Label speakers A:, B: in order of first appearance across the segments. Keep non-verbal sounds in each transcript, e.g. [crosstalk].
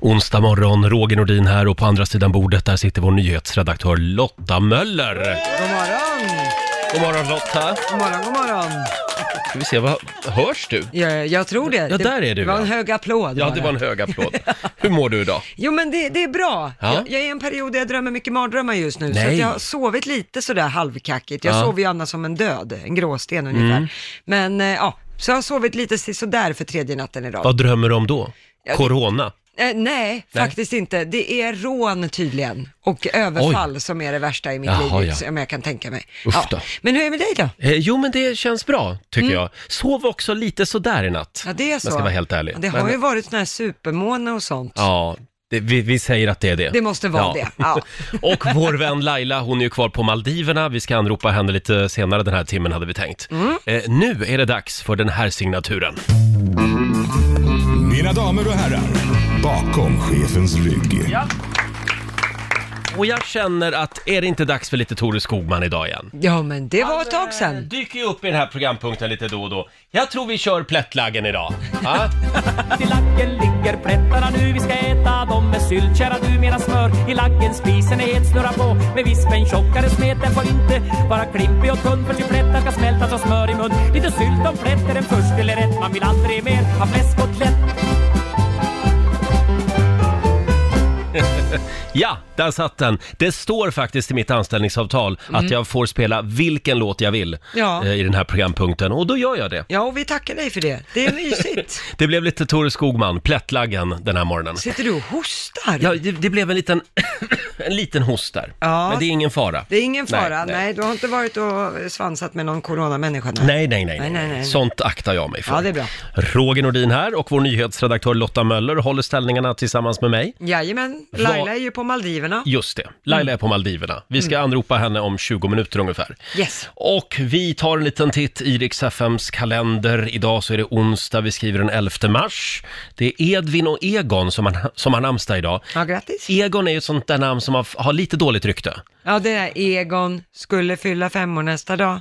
A: onsdag morgon. Roger Nordin här och på andra sidan bordet där sitter vår nyhetsredaktör Lotta Möller.
B: God morgon!
A: God morgon Lotta!
B: God morgon, god morgon!
A: Ska vi se, vad, hörs du?
B: Jag, jag tror det.
A: Ja, där är du,
B: Det var en
A: ja.
B: hög applåd
A: Ja,
B: bara.
A: det var en hög applåd.
B: [laughs]
A: Hur mår du idag?
B: Jo, men det, det är bra.
A: Ja.
B: Jag, jag är i en period där jag drömmer mycket mardrömmar just nu, så
A: Nej.
B: att jag har sovit lite sådär halvkackigt. Jag
A: Ja. Mm.
B: sover ju annars som en död, en gråsten ungefär. Men eh, ja, så jag har sovit lite sådär för tredje natten idag.
A: Vad drömmer du om då?
B: Ja, det-
A: Corona?
B: Eh, nej, faktiskt inte. Det är rån tydligen och överfall som är det värsta i mitt
A: Jaha,
B: liv,
A: ja.
B: som jag kan tänka mig.
A: Usch då.
B: Men hur är det med dig då?
A: Eh, jo, men det känns bra, tycker jag. Sov också lite sådär i natt.
B: Mm. Ja, det är så.
A: Jag ska vara helt ärlig.
B: Ja, Det har
A: Men-
B: ju varit sådana här supermåne och sånt.
A: Ja, det, vi, vi säger att det är det.
B: Det måste vara det, ja.
A: och vår vän Laila, hon är ju kvar på Maldiverna. Vi ska anropa henne lite senare den här timmen, hade vi tänkt.
B: Mm.
A: Eh, nu är det dags för den här signaturen.
C: Mina damer och herrar, bakom chefens rygg.
A: Och jag känner att, är det inte dags för lite Tore Skogman idag igen?
B: Ja, men det var ett tag sedan.
A: dyker ju upp i den här programpunkten lite då och då. Jag tror vi kör plättlaggen idag. Ja?
D: I lacken ligger plättarna nu, vi ska äta dem med sylt, kära du mera smör. I lacken spisen är het, snurra på med vispen tjockare smet, den får inte vara klimpig och tunn för till plättar ska smälta som smör i mun. Lite sylt om plätt är den först eller rätt, man vill aldrig mer ha fläskkotlett.
A: Ja, där satt den. Det står faktiskt i mitt anställningsavtal att jag får spela vilken låt jag vill
B: Mm. Ja.
A: eh, i den här programpunkten och då gör jag det.
B: Ja, och vi tackar dig för det. Det är mysigt.
A: Det blev lite Tore Skogman, plättlaggen, den här morgonen.
B: Sitter du och hostar?
A: Ja, det, det blev en liten, [coughs] en liten host där.
B: Ja.
A: Men det är ingen fara.
B: Det är ingen fara.
A: Nej,
B: Nej,
A: nej.
B: du har inte varit och svansat med någon coronamänniska?
A: Nej, nej, nej,
B: Nej,
A: nej,
B: nej, nej.
A: Sånt aktar jag mig för.
B: Ja, det är bra.
A: Roger Nordin här och vår nyhetsredaktör Lotta Möller håller ställningarna tillsammans med mig.
B: Jajamän,
A: Vad-
B: Laila är ju på Maldiverna.
A: Just det, Laila är på Maldiverna. Vi ska anropa henne om 20 minuter ungefär.
B: Mm. Yes.
A: Och vi tar en liten titt i Rix FMs kalender. Idag så är det onsdag, vi skriver den 11 mars. Det är Edvin och Egon som, har- som har namnsdag idag.
B: Ja, grattis.
A: Egon är ju ett sånt där namn som har, har lite dåligt rykte.
B: Ja, det är Egon, skulle fylla femmor nästa dag.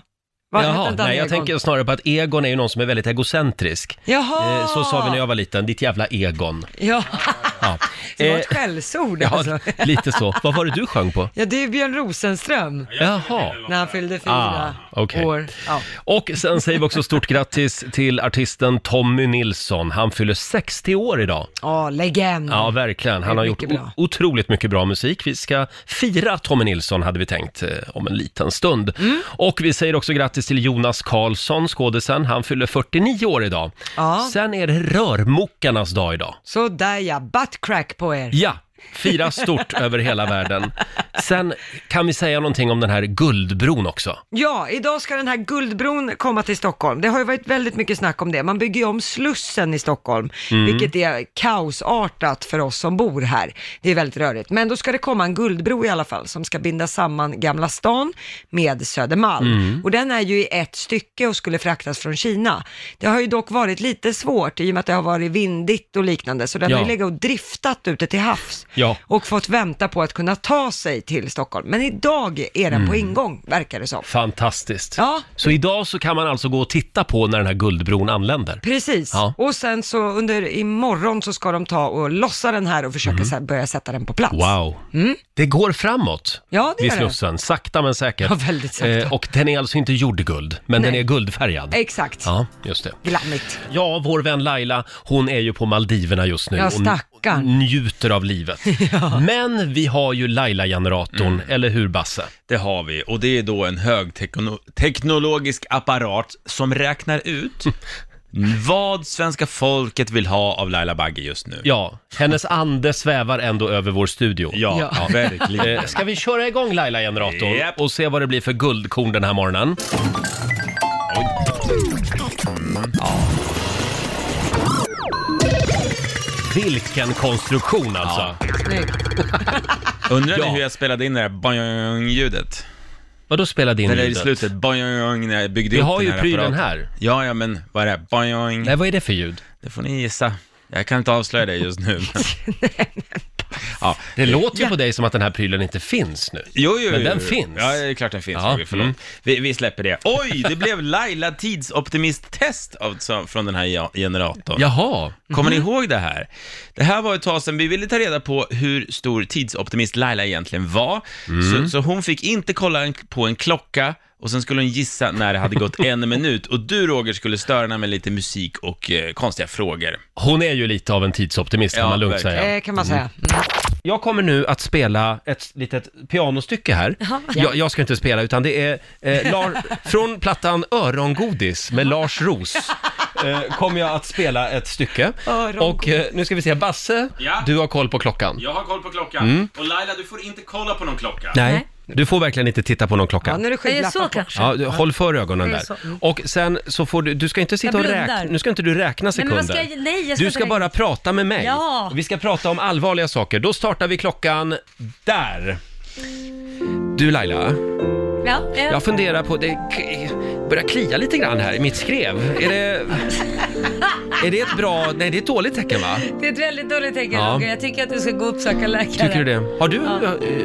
B: Vad
A: Jaha,
B: hette den
A: nej, jag
B: Egon?
A: tänker snarare på att Egon är ju någon som är väldigt egocentrisk.
B: Jaha!
A: Eh, Så sa vi när jag var liten, ditt jävla Egon.
B: Ja,
A: [laughs] Ja,
B: det var
A: eh,
B: ett skällsord
A: ja
B: alltså.
A: [laughs] lite så. Vad var det du sjöng på?
B: Ja, det är Björn Rosenström,
A: Jaha.
B: när han fyllde
A: Ah,
B: fyra
A: okej.
B: år. Ja.
A: Och sen säger vi också stort grattis till artisten Tommy Nilsson. Han fyller 60 år idag.
B: Ja, legend.
A: Ja, verkligen. Han
B: Det
A: har
B: är
A: gjort
B: mycket
A: o-
B: bra.
A: otroligt mycket bra musik. Vi ska fira Tommy Nilsson, hade vi tänkt, eh, om en liten stund. Och vi säger också grattis till Jonas Karlsson, skådisen. Han fyller 49 år idag.
B: Ja.
A: Sen är det rörmokarnas dag idag.
B: Så där ja, butt crack på er.
A: Ja, fira [laughs] stort över hela världen. Sen kan vi säga någonting om den här Guldbron också.
B: Ja, idag ska den här Guldbron komma till Stockholm. Det har ju varit väldigt mycket snack om det. Man bygger ju om Slussen i Stockholm,
A: Mm.
B: vilket är kaosartat för oss som bor här. Det är väldigt rörigt. Men då ska det komma en guldbro i alla fall, som ska binda samman Gamla stan med Södermalm.
A: Mm.
B: Och den är ju i ett stycke och skulle fraktas från Kina. Det har ju dock varit lite svårt i och med att det har varit vindigt och liknande, så den
A: Ja.
B: har ju legat och driftat ute till havs
A: Ja.
B: och fått vänta på att kunna ta sig till Stockholm. Men idag är den på
A: Mm.
B: ingång, verkar det som.
A: Fantastiskt.
B: Ja.
A: Så idag så kan man alltså gå och titta på när den här Guldbron anländer.
B: Precis,
A: Ja.
B: och sen så under imorgon så ska de ta och lossa den här och försöka sä- börja sätta den på plats.
A: Mhm. Wow. Det går framåt
B: Mm. Ja, det
A: vid
B: gör det.
A: Slussen, sakta men säkert.
B: Ja, väldigt sakta.
A: och den är alltså inte gjord i guld, men den
B: Nej.
A: är guldfärgad.
B: Exakt,
A: Ja, just det.
B: glammigt.
A: Ja, vår vän Laila, hon är ju på Maldiverna just nu.
B: Ja,
A: Hon
B: stackarn.
A: njuter av
B: [laughs]
A: livet. Men vi har ju Laila-generatorn,
B: Mm.
A: eller hur Basse?
E: Det har vi, och det är då en högteknologisk apparat som räknar
A: [laughs]
E: ut vad svenska folket vill ha av Laila Bagge just nu.
A: Ja, hennes ande svävar ändå över vår studio.
E: ja,
B: Ja.
A: Eh,
E: verkligen.
A: Ska vi köra igång Laila-generatorn
E: Japp.
A: och se vad det blir för guldkorn den här morgonen? Ja. Vilken konstruktion alltså!
B: Snyggt.
E: Undrar
A: Ja.
E: ni hur jag spelade in det där boing-ljudet?
A: Vadå spelade in
E: Eller i
A: ljudet?
E: slutet, boing, när jag byggde
A: Vi
E: upp
A: har
E: den
A: ju
E: här
A: prylen
E: apparaten.
A: här.
E: Ja, ja, men vad är det? Boing.
A: Nej, vad är det för ljud? [laughs]
E: Det får ni gissa. Jag kan inte avslöja det just nu. Ja.
A: Det låter ju på dig som att den här prylen inte finns nu.
E: Jo, jo,
A: Men
E: jo,
A: den
E: jo.
A: finns.
E: Ja, det är klart den finns.
A: Ja,
E: Roger, förlåt.
A: mm.
E: Vi, vi släpper det. Oj, det blev Laila tidsoptimist-test av- som- från den här ja- generatorn.
A: Jaha.
E: Kommer
A: Mm.
E: ni ihåg det här? Det här var ett tag sedan vi ville ta reda på hur stor tidsoptimist Laila egentligen var.
A: Mm.
E: Så, så hon fick inte kolla en, på en klocka och sen skulle hon gissa när det hade gått
A: [laughs]
E: en minut. Och du Roger skulle störa henne med lite musik och eh, konstiga frågor.
A: Hon är ju lite av en tidsoptimist kan
E: Ja,
A: man lugnt
E: verkligen.
A: säga.
B: Eh, kan man
A: Mm.
B: säga.
A: Jag kommer nu att spela ett litet pianostycke här. Jag, jag ska inte spela, utan det är eh, Lar,
B: [laughs]
A: från plattan Örongodis med Lars Ros. Eh, kommer jag att spela ett stycke. Och eh, nu ska vi se, Basse,
E: Ja.
A: du har koll på klockan.
E: Jag har koll på klockan. Och Laila, du får inte kolla på någon klocka.
A: Nej, du får verkligen inte titta på någon klocka.
B: Ja, nu är det
F: Är det så
B: skygglappar på.
F: kanske?
A: Ja, du, håll för ögonen
F: Det är
A: där.
F: så. Mm.
A: Och sen så får du, du ska inte sitta
F: Jag
A: och räkna,
F: blundar.
A: nu ska inte du räkna
F: Nej,
A: sekunder.
F: men vad ska jag- nej, jag ska
A: du
F: inte
A: ska
F: räkna.
A: bara prata med mig.
F: Ja.
A: Vi ska prata om allvarliga saker. Då startar vi klockan där. Du Laila,
F: Ja, eh,
A: jag funderar på, det k- börjar klia lite grann här i mitt skrev. Är det, är det ett bra, nej det är ett dåligt tecken va?
F: det är ett väldigt dåligt tecken
A: Ja.
F: Roger. Jag tycker att du ska gå och uppsöka läkare.
A: Tycker du det? Har du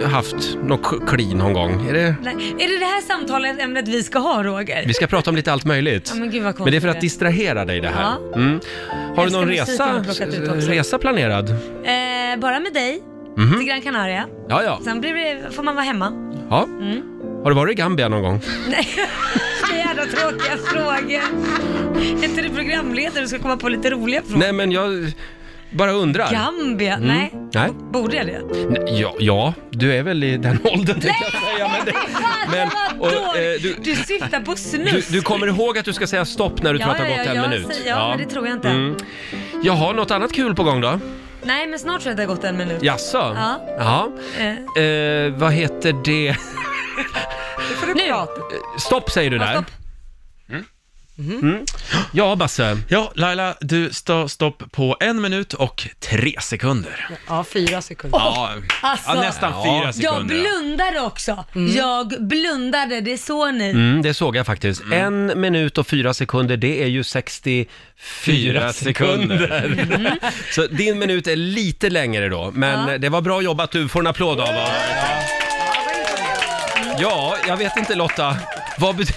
A: eh, haft något k- kli någon gång? Är det,
F: Nej. Är det det här samtalet ämnet vi ska ha Roger?
A: vi ska prata om lite allt möjligt.
F: Ja, men gud vad konstigt.
A: Men det är för att distrahera dig det här.
F: Ja.
A: Mm. Har du
F: Älskar
A: någon
F: musiken har
A: resa,
F: jag plockat ut också.
A: resa planerad?
F: Eh, bara med dig
A: Mhm.
F: till Gran Canaria.
A: Ja, ja.
F: Sen blir det, får man vara hemma.
A: ja.
F: Mm.
A: Har du varit i Gambia någon gång?
F: Det är jävla tråkiga frågor. Är inte du programledare och ska komma på lite roliga frågor?
A: Nej, men jag bara undrar.
F: Gambia? Nej.
A: Nej.
F: Borde jag det?
A: Nej, Ja, ja, du är väl i den [laughs] åldern tänkte jag säga. Men det, [laughs] men,
F: vad
A: och, eh,
F: dåligt!
A: du,
F: du, syftar på snus.
A: du, du kommer ihåg att du ska säga stopp när du pratar bort en
F: jag
A: minut?
F: säger- Ja, men det tror jag inte.
A: Mm. Jaha, något annat kul på gång då?
F: Nej, men snart tror jag att det har gått en minut.
A: Jaså?
F: Ja.
A: Ja.
F: Eh,
A: Eh, vad heter det? [laughs]
B: Nu får du
F: Nu.
B: prata.
A: Stopp säger du där. Mm.
F: stopp.
A: Ja, Basse.
E: Ja, Laila, du står stopp på en minut och tre sekunder.
B: Ja, fyra sekunder.
E: Ja,
F: Alltså,
E: ja nästan fyra
F: jag
E: sekunder.
F: blundade också.
B: Mm.
F: Jag blundade, det såg ni.
A: Mm, det såg jag faktiskt. En minut och fyra sekunder, det är ju 64
E: Fyra sekunder.
A: sekunder. [laughs] Mm. Så din minut är lite längre då, men
F: Ja.
A: det var bra jobbat. Du får en applåd av oss. Ja, jag vet inte Lotta, vad, bet-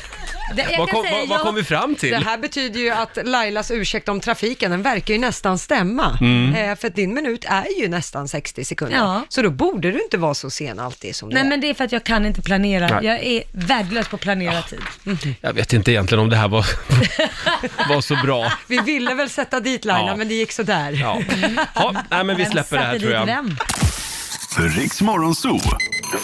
F: Det- jag
A: vad,
F: kan
A: kom,
F: säga,
A: vad, vad
F: jag-
A: kom vi fram
B: Det
A: till?
B: här betyder ju att Lailas ursäkt om trafiken, den verkar ju nästan stämma.
A: Mm.
B: Eh, för att din minut är ju nästan 60 sekunder.
F: Ja.
B: Så då borde du inte vara så sen alltid som du
F: Nej
B: är.
F: men det är för att jag kan inte planera.
A: Nej.
F: Jag är värdelös på att planera tid.
A: Jag vet inte egentligen om det
F: [laughs]
A: här var, var så bra.
B: Vi ville väl sätta dit Laila,
A: Ja.
B: men det gick sådär.
A: Ja. Ja, nej, men vi
F: Vem
A: släpper det här
F: satte
A: tror
F: dit
A: jag.
F: Vem?
C: Riks Morgonzoo.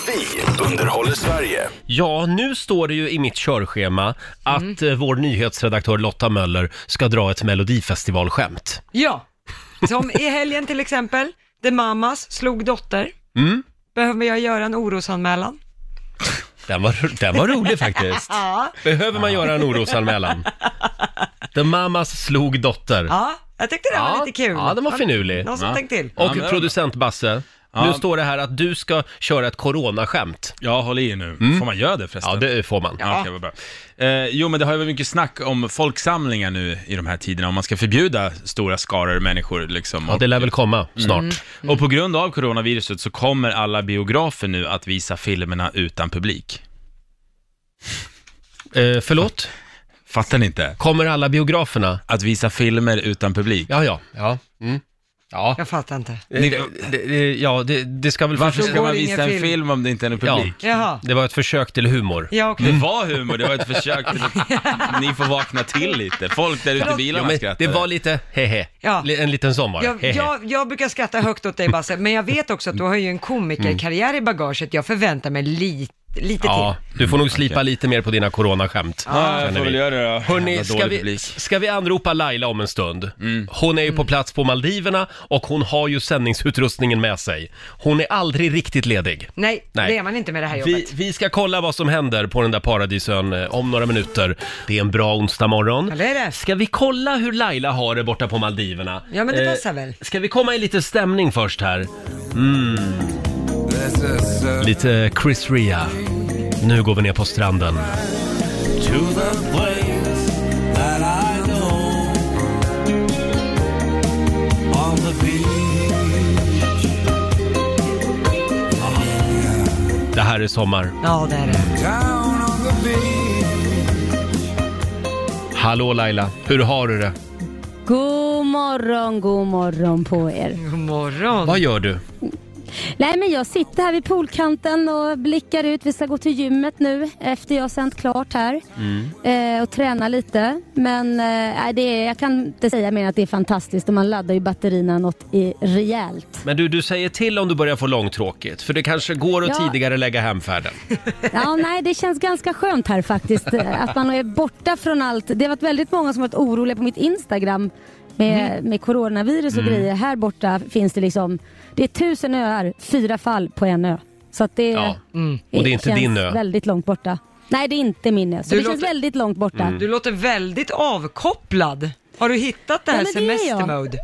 C: Vi underhåller Sverige.
A: Ja, nu står det ju i mitt körschema att eh, vår nyhetsredaktör Lotta Möller ska dra ett melodifestivalskämt.
B: Ja, som i helgen till exempel, The Mamas slog dotter.
A: Mm.
B: Behöver jag göra en orosanmälan?
A: Den var, den var rolig faktiskt.
B: [laughs] Ja.
A: Behöver man göra en orosanmälan? The Mamas slog dotter.
B: Ja, jag tyckte det var
A: Ja,
B: lite kul.
A: ja, den var finurlig.
B: Någon som
E: Ja.
B: tänkte till.
A: Och
E: men-
A: producent Basse, nu
E: Ja.
A: står det här att du ska köra ett coronaskämt.
E: Ja, håll i er nu. Får man göra det förresten?
A: Mm. Ja, det får man.
E: Ja, okej, vad bra. Eh, jo, men det har ju varit mycket snack om folksamlingar nu i de här tiderna, om man ska förbjuda stora skaror människor. Liksom.
A: Ja, det lär väl komma snart.
E: Och på grund av coronaviruset så kommer alla biografer nu att visa filmerna utan publik.
A: Eh, förlåt?
E: Fattar ni inte?
A: Kommer alla biograferna?
E: Att visa filmer utan publik.
A: Ja, ja. Ja, mm. ja.
B: Jag fattar inte.
A: Det, det, det, ja det, det ska väl...
E: Varför
B: går
E: ska man
B: ingen
E: visa en
B: film.
E: film. om det inte är någon
A: Ja.
E: publik?
B: Jaha,
A: Det var ett försök till humor.
B: ja okej.
A: Mm.
E: Det var humor, det var ett försök till att
A: [laughs]
E: ni får vakna till lite. Folk där ute i
A: Ja,
E: bilarna
A: men
E: skrattar.
A: det var lite hehe.
B: Ja.
A: Li- En liten sån var det.
B: Jag,
A: Hehe.
B: jag, jag brukar skratta högt åt dig Basse, men jag vet också att du har ju en komikerkarriär i bagaget. Jag förväntar mig lite, lite
A: Ja,
B: till.
A: du får nog slipa lite mer på dina coronaskämt.
E: Ja, jag
A: känner
E: får väl
A: vi.
E: göra det då.
A: Hörni,
E: Jävla
A: ska
E: dålig
A: vi,
E: publik. Mm.
A: ska vi anropa Laila om en stund? Hon är ju
B: Mm.
A: på plats på Maldiverna och hon har ju sändningsutrustningen med sig. Hon är aldrig riktigt ledig.
B: Nej,
A: Nej.
B: det är man inte med det här
A: Vi,
B: jobbet.
A: vi ska kolla vad som händer på den där paradisön eh, om några minuter. Det är en bra onsdag morgon.
B: Ja, det är det.
A: Ska vi kolla hur Laila har det borta på Maldiverna? Eh,
B: Ja, men det passar väl.
A: Ska vi komma i lite stämning först här? Mm. Lite Chris Ria. Nu går vi ner på stranden. här i sommar.
B: Ja, det är det.
A: Hallå Laila, hur har du det?
G: God morgon, god morgon på er.
B: God morgon.
A: Vad gör du?
G: Nej men jag sitter här vid poolkanten och blickar ut. Vi ska gå till gymmet nu efter jag har sänt klart här eh, och träna lite. Men eh, nej, det är, jag kan inte säga mer än att det är fantastiskt och man laddar ju batterierna något i rejält.
A: Men du, du säger till om du börjar få långtråkigt, för det kanske går att
G: Ja.
A: tidigare lägga hemfärden.
G: Ja, nej, det känns ganska skönt här faktiskt. eh, Att man är borta från allt. Det har varit väldigt många som varit oroliga på mitt Instagram med,
A: Mhm.
G: med coronavirus och
A: Mm.
G: grejer. Här borta finns det liksom, det är tusen öar, fyra fall på en ö. Så att det,
A: Ja. Mm. Och det är inte
G: känns
A: din ö.
G: väldigt långt borta. Nej, det är inte min ö. Så
B: Du
G: det känns
B: låter-
G: väldigt långt borta.
A: Mm.
B: Du låter väldigt avkopplad. Har du hittat det här
G: Ja, men det är jag.
B: semestermode?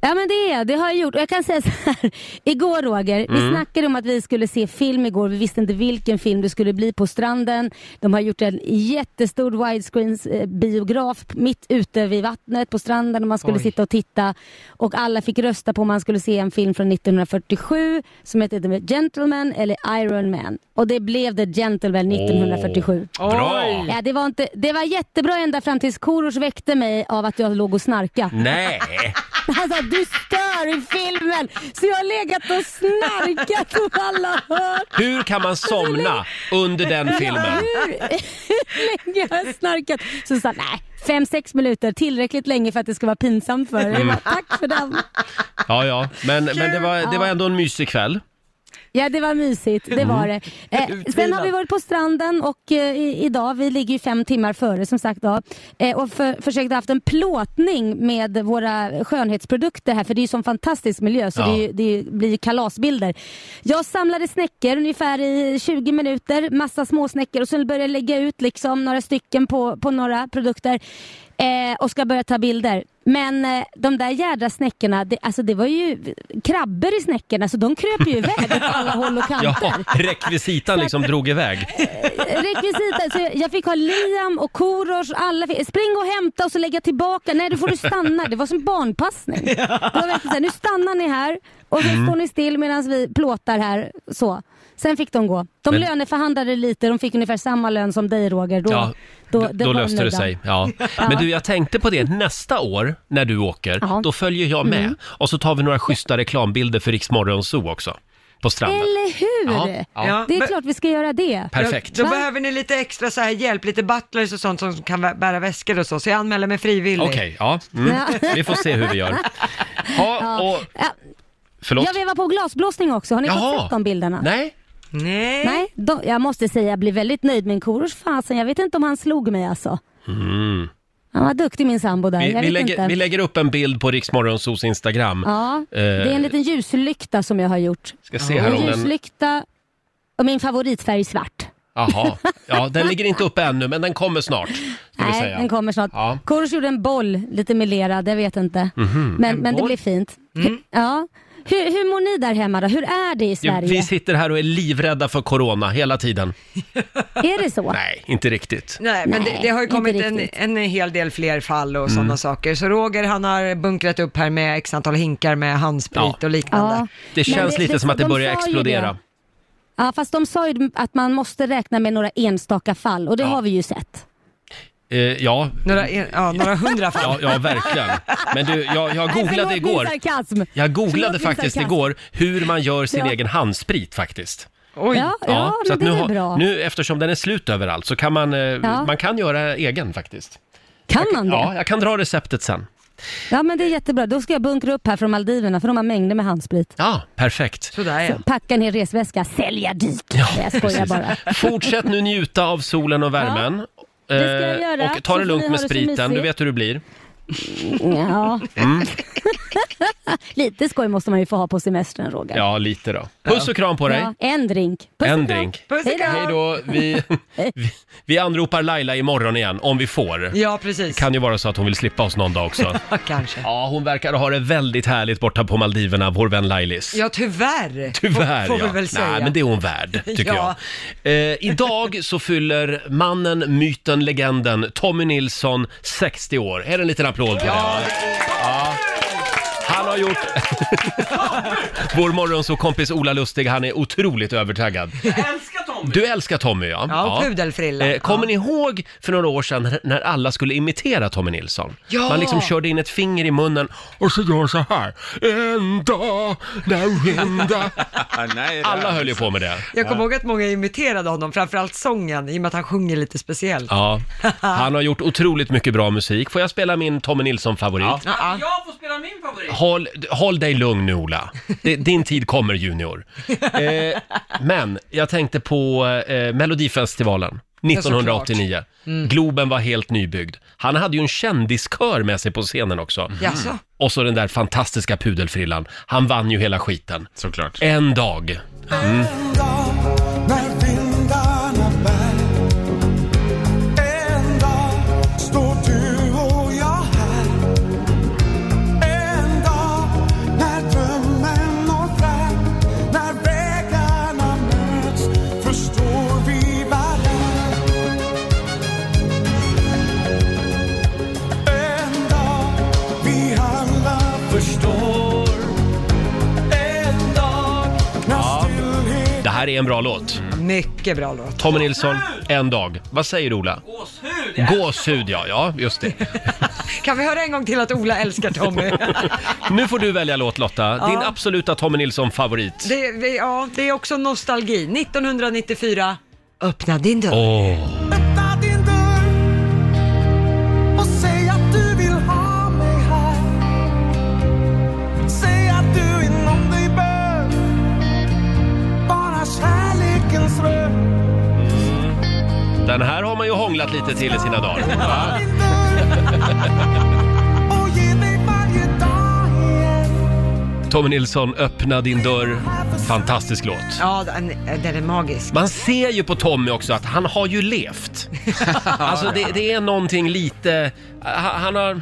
G: Ja men det är jag. det har jag gjort. Och jag kan säga så här. [laughs] Igår Roger, vi snackade om att vi skulle se film igår. Vi visste inte vilken film det skulle bli på stranden. De har gjort en jättestor widescreens eh, biograf mitt ute vid vattnet på stranden. Och man skulle
B: Oj.
G: sitta och titta. Och alla fick rösta på om man skulle se en film från 1947 som hette The Gentleman eller Iron Man. Och det blev The Gentleman 1947.
A: Åh, bra!
G: Ja, det, var inte, det var jättebra ända fram tills Korosh väckte mig av att jag låg och snarkade.
A: Nej,
G: Han sa Alltså, du stör i filmen så jag har legat och snarkat och alla hör.
A: hur kan man somna under den filmen?
G: Hur länge har jag snarkat? Så sa han, nej, fem, sex minuter, tillräckligt länge för att det ska vara pinsamt för er. Jag bara, Tack för den.
A: Ja, ja, men, men det, var, det var ändå en mysig kväll.
G: Ja, det var mysigt, det var det. Eh, sen har vi varit på stranden och eh, i- idag, vi ligger ju fem timmar före som sagt då, eh, och för, försökt haft en plåtning med våra skönhetsprodukter här för det är ju sån fantastisk miljö så
A: Ja.
G: det, är ju, det är ju- blir ju kalasbilder. Jag samlade snäckor ungefär i 20 minuter, massa småsnäckor och sen började jag lägga ut liksom några stycken på, på några produkter eh, och ska börja ta bilder. Men eh, de där jädra snäckorna, det, alltså det var ju krabbor i snäckorna så de kröp ju
A: [laughs]
G: iväg åt alla håll och kanter.
A: Ja, rekvisitan liksom drog iväg.
G: Rekvisita, så jag- jag fick ha Liam och Korosh, alla fick, spring och hämta och så lägga tillbaka. Nej, då får du stanna. Det var som barnpassning. Det var verkligen så här, nu stannar ni här och så
A: Mm.
G: står ni still medan vi plåtar här. Så. Sen fick de gå. De
A: Men-
G: löneförhandlade lite, de fick ungefär samma lön som dig Roger. Då,
A: Ja,
G: då,
A: Då,
G: det var
A: löste det
G: nöjda.
A: sig.
G: [laughs]
A: Ja. Men du, jag tänkte på det. Nästa år när du åker,
G: Ja. Mm.
A: då följer jag med. Och så tar vi några schyssta reklambilder för Rix Morgon Zoo också. På stranden.
G: Eller hur?
A: Ja, ja.
B: Ja,
G: Det är
B: men-
G: klart vi ska göra det.
A: Perfekt.
B: Då, då behöver ni lite extra så här hjälp, lite butlers och sånt som kan vä- bära väskor och så. Så jag anmäler mig frivillig.
A: Okej, ja. Mm.
G: Ja.
A: [laughs] Vi får se hur vi gör. Ja, och...
G: Ja,
A: Förlåt?
G: jag var på glasblåsning också. Har ni
A: Jaha.
G: fått sett de bilderna?
A: Nej?
B: Nej.
G: Nej, de, jag måste säga jag blir väldigt nöjd med en Korosh. Fasen, jag vet inte om han slog mig alltså. Han var duktig min sambo där.
A: Mm. Vi,
G: jag
A: vi,
G: vet inte.
A: lägger, vi lägger upp en bild på Rix Morgon Zoos Instagram.
G: Ja, det är
A: Eh.
G: en liten ljuslykta som jag har gjort.
A: Ska se här
G: En
A: om den...
G: ljuslykta och min favoritfärg är svart.
A: Jaha. Ja, den ligger
G: [laughs]
A: inte uppe ännu, men den kommer snart. Ska vi
G: Nej,
A: säga.
G: den kommer snart.
A: Ja. Mhm.
G: Korosh gjorde en boll, lite melerad, jag vet inte. Men, men det blir fint. Ja. Hur, hur mår ni där hemma då? Hur är det i
A: Ja,
G: Sverige?
A: Vi [laughs] sitter här och är livrädda för corona hela tiden.
G: Är det så?
A: Nej, inte riktigt.
B: Nej, men
G: Nej,
B: det, det har ju
G: inte
B: kommit en,
G: riktigt. Mm.
B: en hel del fler fall och sådana saker. Så Roger han har bunkrat upp här med x antal hinkar med handsprit
A: Ja.
B: och
G: Ja.
B: liknande.
A: Det känns
G: det-
A: lite
G: det-
A: som att det
G: de
A: börjar
G: sa ju
A: explodera.
G: det. Ja, fast de sa ju att man måste räkna med några enstaka fall och det
A: Ja.
G: har vi ju sett.
A: Eh, ja,
B: Några, en- ja, några hundra fall.
A: ja, ja, verkligen. Men du, jag, jag
G: Nej, förlåt
A: googlade
G: min
A: igår.
G: sarkasm.
A: Jag
G: Förlåt
A: googlade
G: min
A: faktiskt
G: sarkasm.
A: igår hur man gör sin
G: Ja.
A: egen handsprit faktiskt.
B: Oj.
G: Ja, ja,
A: så
G: men
A: att
G: det
A: nu,
G: är
A: har-
G: bra.
A: nu eftersom den är slut överallt så kan man, eh, man kan göra egen faktiskt.
G: kan man det?
A: Ja,
G: Ja.
A: jag kan dra receptet sen.
G: men det är jättebra. Då ska jag bunkra upp här från Maldiverna för de har mängder med handsprit.
A: Ja, perfekt.
B: Sådär ja.
G: Packa ner resväska, sälja dyrt. Nej, jag skojar bara.
A: [laughs] Fortsätt nu njuta av solen och värmen.
G: det ska jag
A: Eh,
G: göra,
A: Och ta det
G: så
A: lugnt
G: får ni
A: med
G: ha det så
A: spriten, du
G: mysigt.
A: vet hur det blir.
G: Ja.
A: Mm.
G: [laughs] Lite skoj måste man ju få ha på semestern Roger.
A: Ja, lite då. Puss och kram på dig.
G: Ja, en drink. Puss
A: En
G: och kram.
A: drink.
B: Puss och
G: Hej då.
A: Hej då. Vi, vi, vi anropar Laila imorgon igen, om vi får.
B: Ja, precis.
A: Kan ju vara så att hon vill slippa oss någon
B: [laughs]
A: dag också.
B: Ja, [laughs] kanske.
A: Ja, hon verkar ha det väldigt härligt borta på Maldiverna, vår vän Lailis.
B: Ja, tyvärr.
A: Tyvärr
B: får, får vi
A: ja.
B: väl säga.
A: Nej, men det är hon värd, tycker
B: [laughs] Ja.
A: jag. Eh, idag så fyller mannen, myten, legenden Tommy Nilsson 60 år. Är det en liten applåd på det? Ja. Han har gjort... [laughs] Vår morgonsåkompis Ola Lustig, han är otroligt övertaggad.
H: Jag älskar
E: Tommy.
A: Du älskar Tommy ja.
B: Ja, och pudelfrilla.
A: Eh, Kommer
B: Ja.
A: ni ihåg för några år sedan när- när alla skulle imitera Tommy Nilsson?
B: Ja.
A: Man liksom körde in ett finger i munnen och så gör så här. En dag, när hända.
E: Nej, det
A: Alla
E: är-
A: höll ju på med det.
B: Jag kommer ihåg att många imiterade honom, framförallt sången, i och med att han sjunger lite speciellt.
A: Ja, han har gjort otroligt mycket bra musik. Får jag spela min Tommy Nilsson-favorit?
B: Ja.
D: Jag får spela min favorit.
A: Håll, håll dig lugn nu Ola. Det- Din tid
D: [laughs]
A: kommer Junior. Eh, men jag tänkte på eh, Melodifestivalen
B: Ja, såklart.
A: 1989.
D: Mm.
A: Globen var helt nybyggd. Han hade ju en kändiskör med sig på scenen också.
D: Mm.
B: Jaså?
A: Och så den där fantastiska pudelfrillan. Han vann ju hela skiten.
E: Såklart.
A: En dag. Det här är en bra låt.
B: Mycket bra låt.
A: Tommy Nilsson, en dag. Vad säger du, Ola?
D: Gåshud!
A: Gåshud, ja. Ja, just det.
B: Kan vi höra en gång till att Ola älskar
A: [laughs]
B: Tommy?
A: Nu får du välja låt Lotta. Din absoluta Tommy Nilsson-favorit.
B: det, vi- ja, det är också nostalgi. 1994, öppna din dörr.
A: Åh,
H: öppna din dörr och säg att du vill ha mig här. Säg att du inom dig bär bara kärlekens rör.
A: den här har man ju hånglat lite till i sina dagar.
H: Öppna din dörr och ge dig varje dag igen.
A: Tommy Nilsson, öppna din dörr. Fantastisk låt.
B: Ja, den, den är magisk.
A: Man ser ju på Tommy också att han har ju levt. Alltså det, det är någonting lite... Han han har,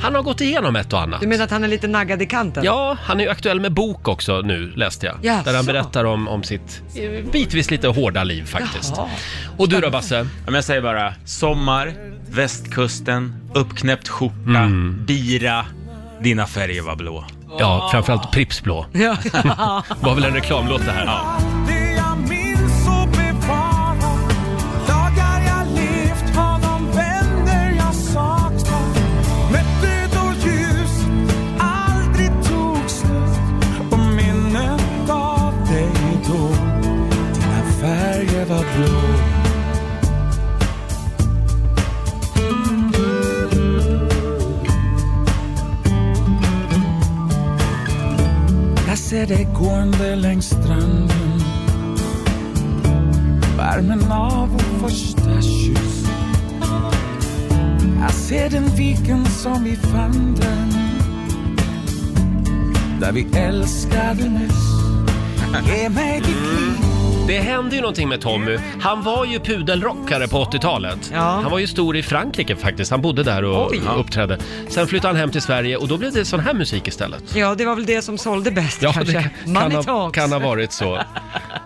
A: han har gått igenom ett och annat.
B: Du menar att han är lite naggad i kanten?
A: Ja, han är ju aktuell med bok också nu, läste jag.
B: Jaså?
A: Där han berättar om, om sitt eh, bitvis lite hårda liv faktiskt.
B: Jaha.
A: Och du då Basse?
E: Ja, Men jag säger bara sommar, västkusten, uppknäppt skjorta,
A: Mm.
E: bira, dina färger var blå.
A: Ja, framförallt Pripps blå.
B: [laughs] Ja.
A: [laughs] Var väl en reklamlåt det här?
H: Det jag minns och bevarar dagar jag levt, har de vänner jag saknar. Med död och ljus aldrig tog slut och minnet av dig då dina färger var blå. Jag ser dig gående längs stranden Värmen av vår första kyss Jag ser den viken som vi fann den Där vi älskade nyss Ge mig ditt liv
A: Det hände ju någonting med Tommy. Han var ju pudelrockare på 80-talet.
B: Ja.
A: Han var ju stor i Frankrike faktiskt. Han bodde där och
B: Oj.
A: uppträdde. Sen flyttade han hem till Sverige och då blev det sån här musik istället.
B: ja, det var väl det som sålde bäst kanske.
A: kan,
B: Money
A: kan, ha,
B: talks.
A: kan ha varit så.
B: [laughs]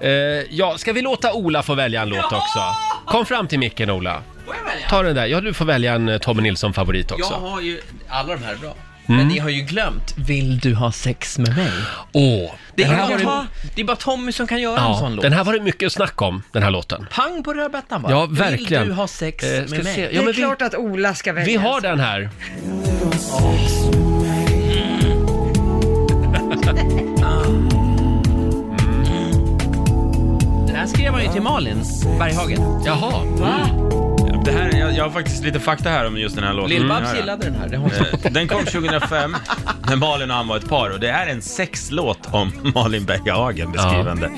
A: Eh, ja, ska vi låta Ola få välja en låt också? Kom fram till micken Ola.
D: Får jag välja?
A: Ta den där. Ja, du får välja en eh, Tommy Nilsson-favorit
I: Jag
A: också.
I: har ju, alla de här är bra.
A: Mm.
I: Men ni har ju glömt, vill du ha sex med mig?
A: Åh,
I: Det är,
B: här var
I: bara,
B: det-
I: det är bara Tommy som kan göra en
A: ja,
I: sån låt.
A: den här var det mycket snack om, den här låten.
I: Pang på rödbetan va?
A: Ja, verkligen.
I: Vill du ha sex
A: Eh, ska
I: med mig?
A: se. Ja,
B: det är
A: men vi-
B: klart att Ola ska välja.
A: Vi har den här.
I: Den här skrev han ju till Malin Berghagen.
A: Jaha.
E: Det här, jag, jag har faktiskt lite fakta här om just den här låten.
A: Mm,
E: Mm. Ja,
I: Lill-Babs
E: ja.
I: gillade den här, det har hon sagt.
E: Eh, Den kom 2005 när Malin och han var ett par och det är en sexlåt om [laughs] Malin Berghagen beskrivande.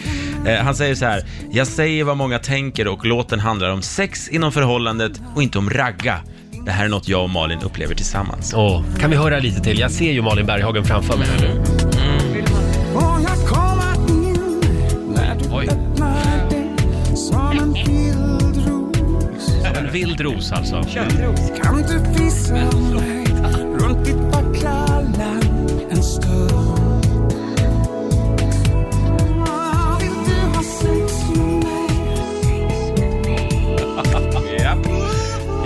E: Eh, Han säger så här, jag säger vad många tänker och låten handlar om sex inom förhållandet och inte om ragga. Det här är något jag och Malin upplever tillsammans.
A: Åh, kan vi höra lite till? Jag ser ju Malin Berghagen framför mig här nu.
H: [laughs] Och jag kommer in när du
A: Oj.
H: öppnar dig som en vildros
A: En vild ros alltså.
H: Kan du visa mig runt ditt vackra land en stund? Ah, Vill du ha sex med mig?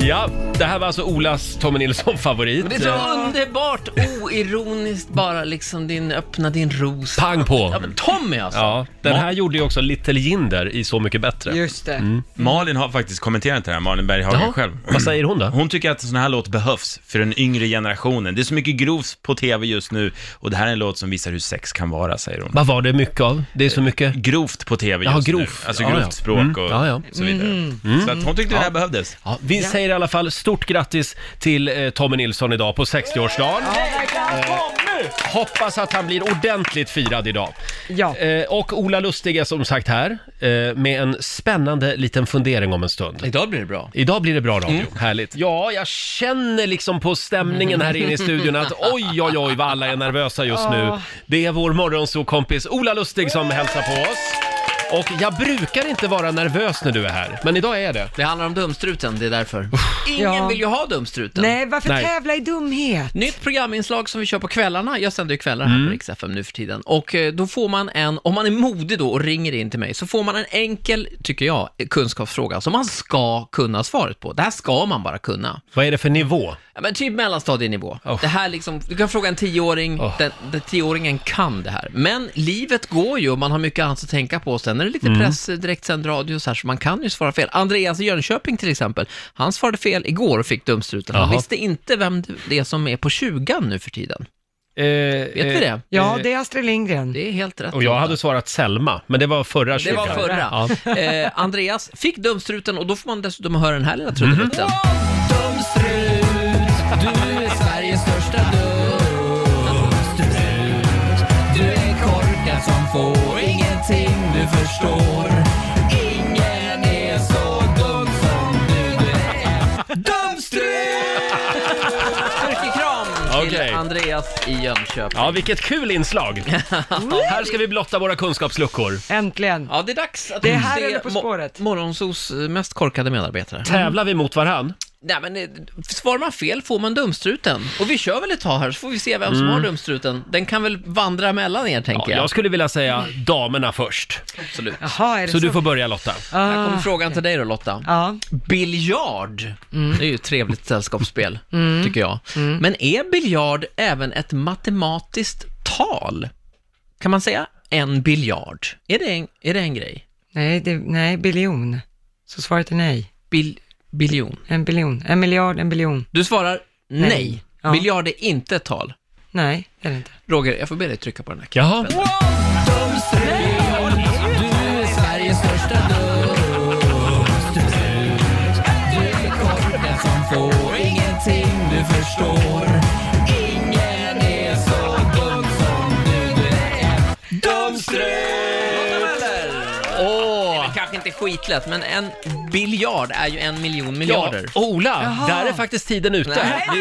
A: Ja, det här var alltså Olas Tommy Nilsson-favorit.
I: Det är så underbart
J: oironiskt bara liksom din, öppna din ros.
A: Pang på!
J: Ja, men Tommy alltså!
A: Ja, den här gjorde ju också Little Jinder i Så mycket bättre.
B: Just det.
E: Malin har faktiskt kommenterat det här, Malin
A: Jaha.
E: Berghagen själv.
A: Vad säger hon då?
E: Hon tycker att sån här låt behövs för den yngre generationen. Det är så mycket grovt på tv just nu och det här är en låt som visar hur sex kan vara, säger hon.
A: Vad var det mycket av? Det är så mycket.
E: Grovt på tv
A: Jaha,
E: just
A: grovt.
E: nu. Alltså
A: Ja,
E: grovt
A: ja.
E: språk
A: Mm.
E: och
A: Ja, ja.
E: så vidare.
B: Mm.
E: Så att hon tyckte det här behövdes.
A: Ja, vi säger i alla fall stort grattis till eh, Tommy Nilsson idag på 60-årsdagen. Eh, hoppas att han blir ordentligt firad idag.
B: Ja.
A: Eh, och Ola Lustig är som sagt här eh, med en spännande liten fundering om en stund.
J: Idag blir det bra. Mm.
A: Idag blir det bra radio, härligt. Ja, jag känner liksom på stämningen här inne i
J: [laughs]
A: studion att oj, oj, oj vad alla är nervösa just nu. Det är vår morgonsåkompis Ola Lustig som hälsar på oss. Och jag brukar inte vara nervös när du är här, men idag är jag det.
J: Det handlar om dumstruten, det är därför. Ingen
B: Ja.
J: vill ju ha dumstruten.
B: Nej, varför
A: Nej.
B: tävla i dumhet?
J: Nytt programinslag som vi kör på kvällarna. Jag sänder ju kvällar här på Rix FM nu för tiden. Och eh, då får man en, om man är modig då och ringer in till mig, så får man en enkel, tycker jag, kunskapsfråga som man ska kunna svaret på. Det här ska man bara kunna.
A: Vad är det för nivå?
J: Ja, men typ mellanstadienivå.
A: Oh.
J: Det här liksom, du kan fråga en tioåring,
A: Oh.
J: den, den tioåringen kan det här. Men livet går ju och man har mycket annat att tänka på. Sen är det
A: Mm.
J: lite press, direktsänd radio och så här, så man kan ju svara fel. Andreas i Jönköping till exempel, han svarade fel igår och fick dumstruten. Han
A: Jaha.
J: visste inte vem det är som är på 20 nu för tiden.
A: Vet
J: Vet vi det?
B: Ja, det är Astrid Lindgren.
J: Det är helt rätt.
A: Eh, Och jag hade svarat Selma, men det var förra
J: det var
A: kyrkan.
J: förra.
A: Ja.
J: Eh, Andreas fick dumstruten och då får man dessutom höra den här lilla trudelutten. Mm-hmm. Dumstrut, du är Sveriges största dumstrut. Du är korkad som får ingenting du förstår. Ingen är så dum som du, du är. Dumstrut! Styrkekram till
A: Okej.
J: Andreas i Jönköping.
A: Ja, vilket kul inslag! Här ska vi blotta våra kunskapsluckor.
B: Äntligen.
J: Ja, det är dags att
B: Det är här
J: utse
B: eller På
J: mo-
B: spåret?
J: Morgonsos eh, mest korkade medarbetare.
A: Tävlar vi mot varann?
J: Nej men eh, svarar man fel får man dumstruten. Och vi kör väl ett tag här så får vi se vem som har dumstruten. Den kan väl vandra mellan er tänker
A: Ja,
J: Mm. jag.
A: jag skulle vilja säga damerna först.
J: Absolut.
B: Jaha, är det
A: Så
B: så?
A: du får börja Lotta.
J: Här kommer frågan till dig då Lotta.
B: Ja.
J: Biljard, det är ju ett trevligt sällskapsspel tycker jag. Men är biljard även ett matematiskt tal? Kan man säga en biljard? Är det en, är det en grej?
B: Nej, det, nej, biljon. Så svaret är nej.
J: Bil, biljon.
B: En biljon. En miljard, en biljon.
J: Du svarar nej.
B: Ja.
J: Biljard är inte ett tal.
B: Nej, det är det inte.
J: Roger, jag får be dig trycka på den här
A: Jaha.
J: Sveriges största Åh! Det kanske inte är skitlätt, men en biljard är ju en miljon
A: Ja,
J: miljarder.
A: Ola, där är faktiskt tiden ute. Vi,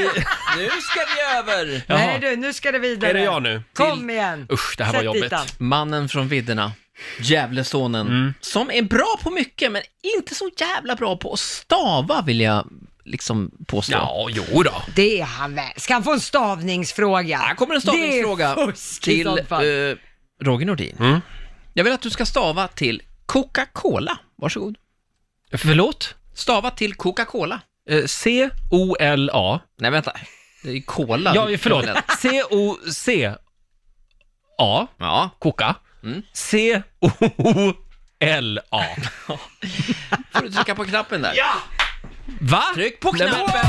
J: Nu ska vi över!
A: Jaha.
B: Nej du, nu ska det vidare.
A: Är det jag nu?
B: Kom igen.
A: usch, det här
B: Sätt
A: var jobbigt.
B: dit han.
J: Mannen från vidderna, Gävlesonen, som är bra på mycket, men inte så jävla bra på att stava, vill jag liksom påstå.
A: Ja, jo då.
B: Det är han väl. Ska han få en stavningsfråga?
J: Här kommer en stavningsfråga
B: Det är fusk i
J: till
B: sånt fall.
J: eh, Roger Nordin. Jag vill att du ska stava till Coca-Cola. Varsågod.
A: Förlåt?
J: Stava till Coca-Cola.
A: Eh, C-O-L-A.
J: Nej, vänta. Det är ju cola.
A: Ja, förlåt. C-O-C-A.
J: [laughs] Ja.
A: Koka.
J: Mm.
A: C-O-L-A.
J: Får du trycka på knappen där.
A: Va?
J: Tryck på
A: Nej, men-
J: knappen!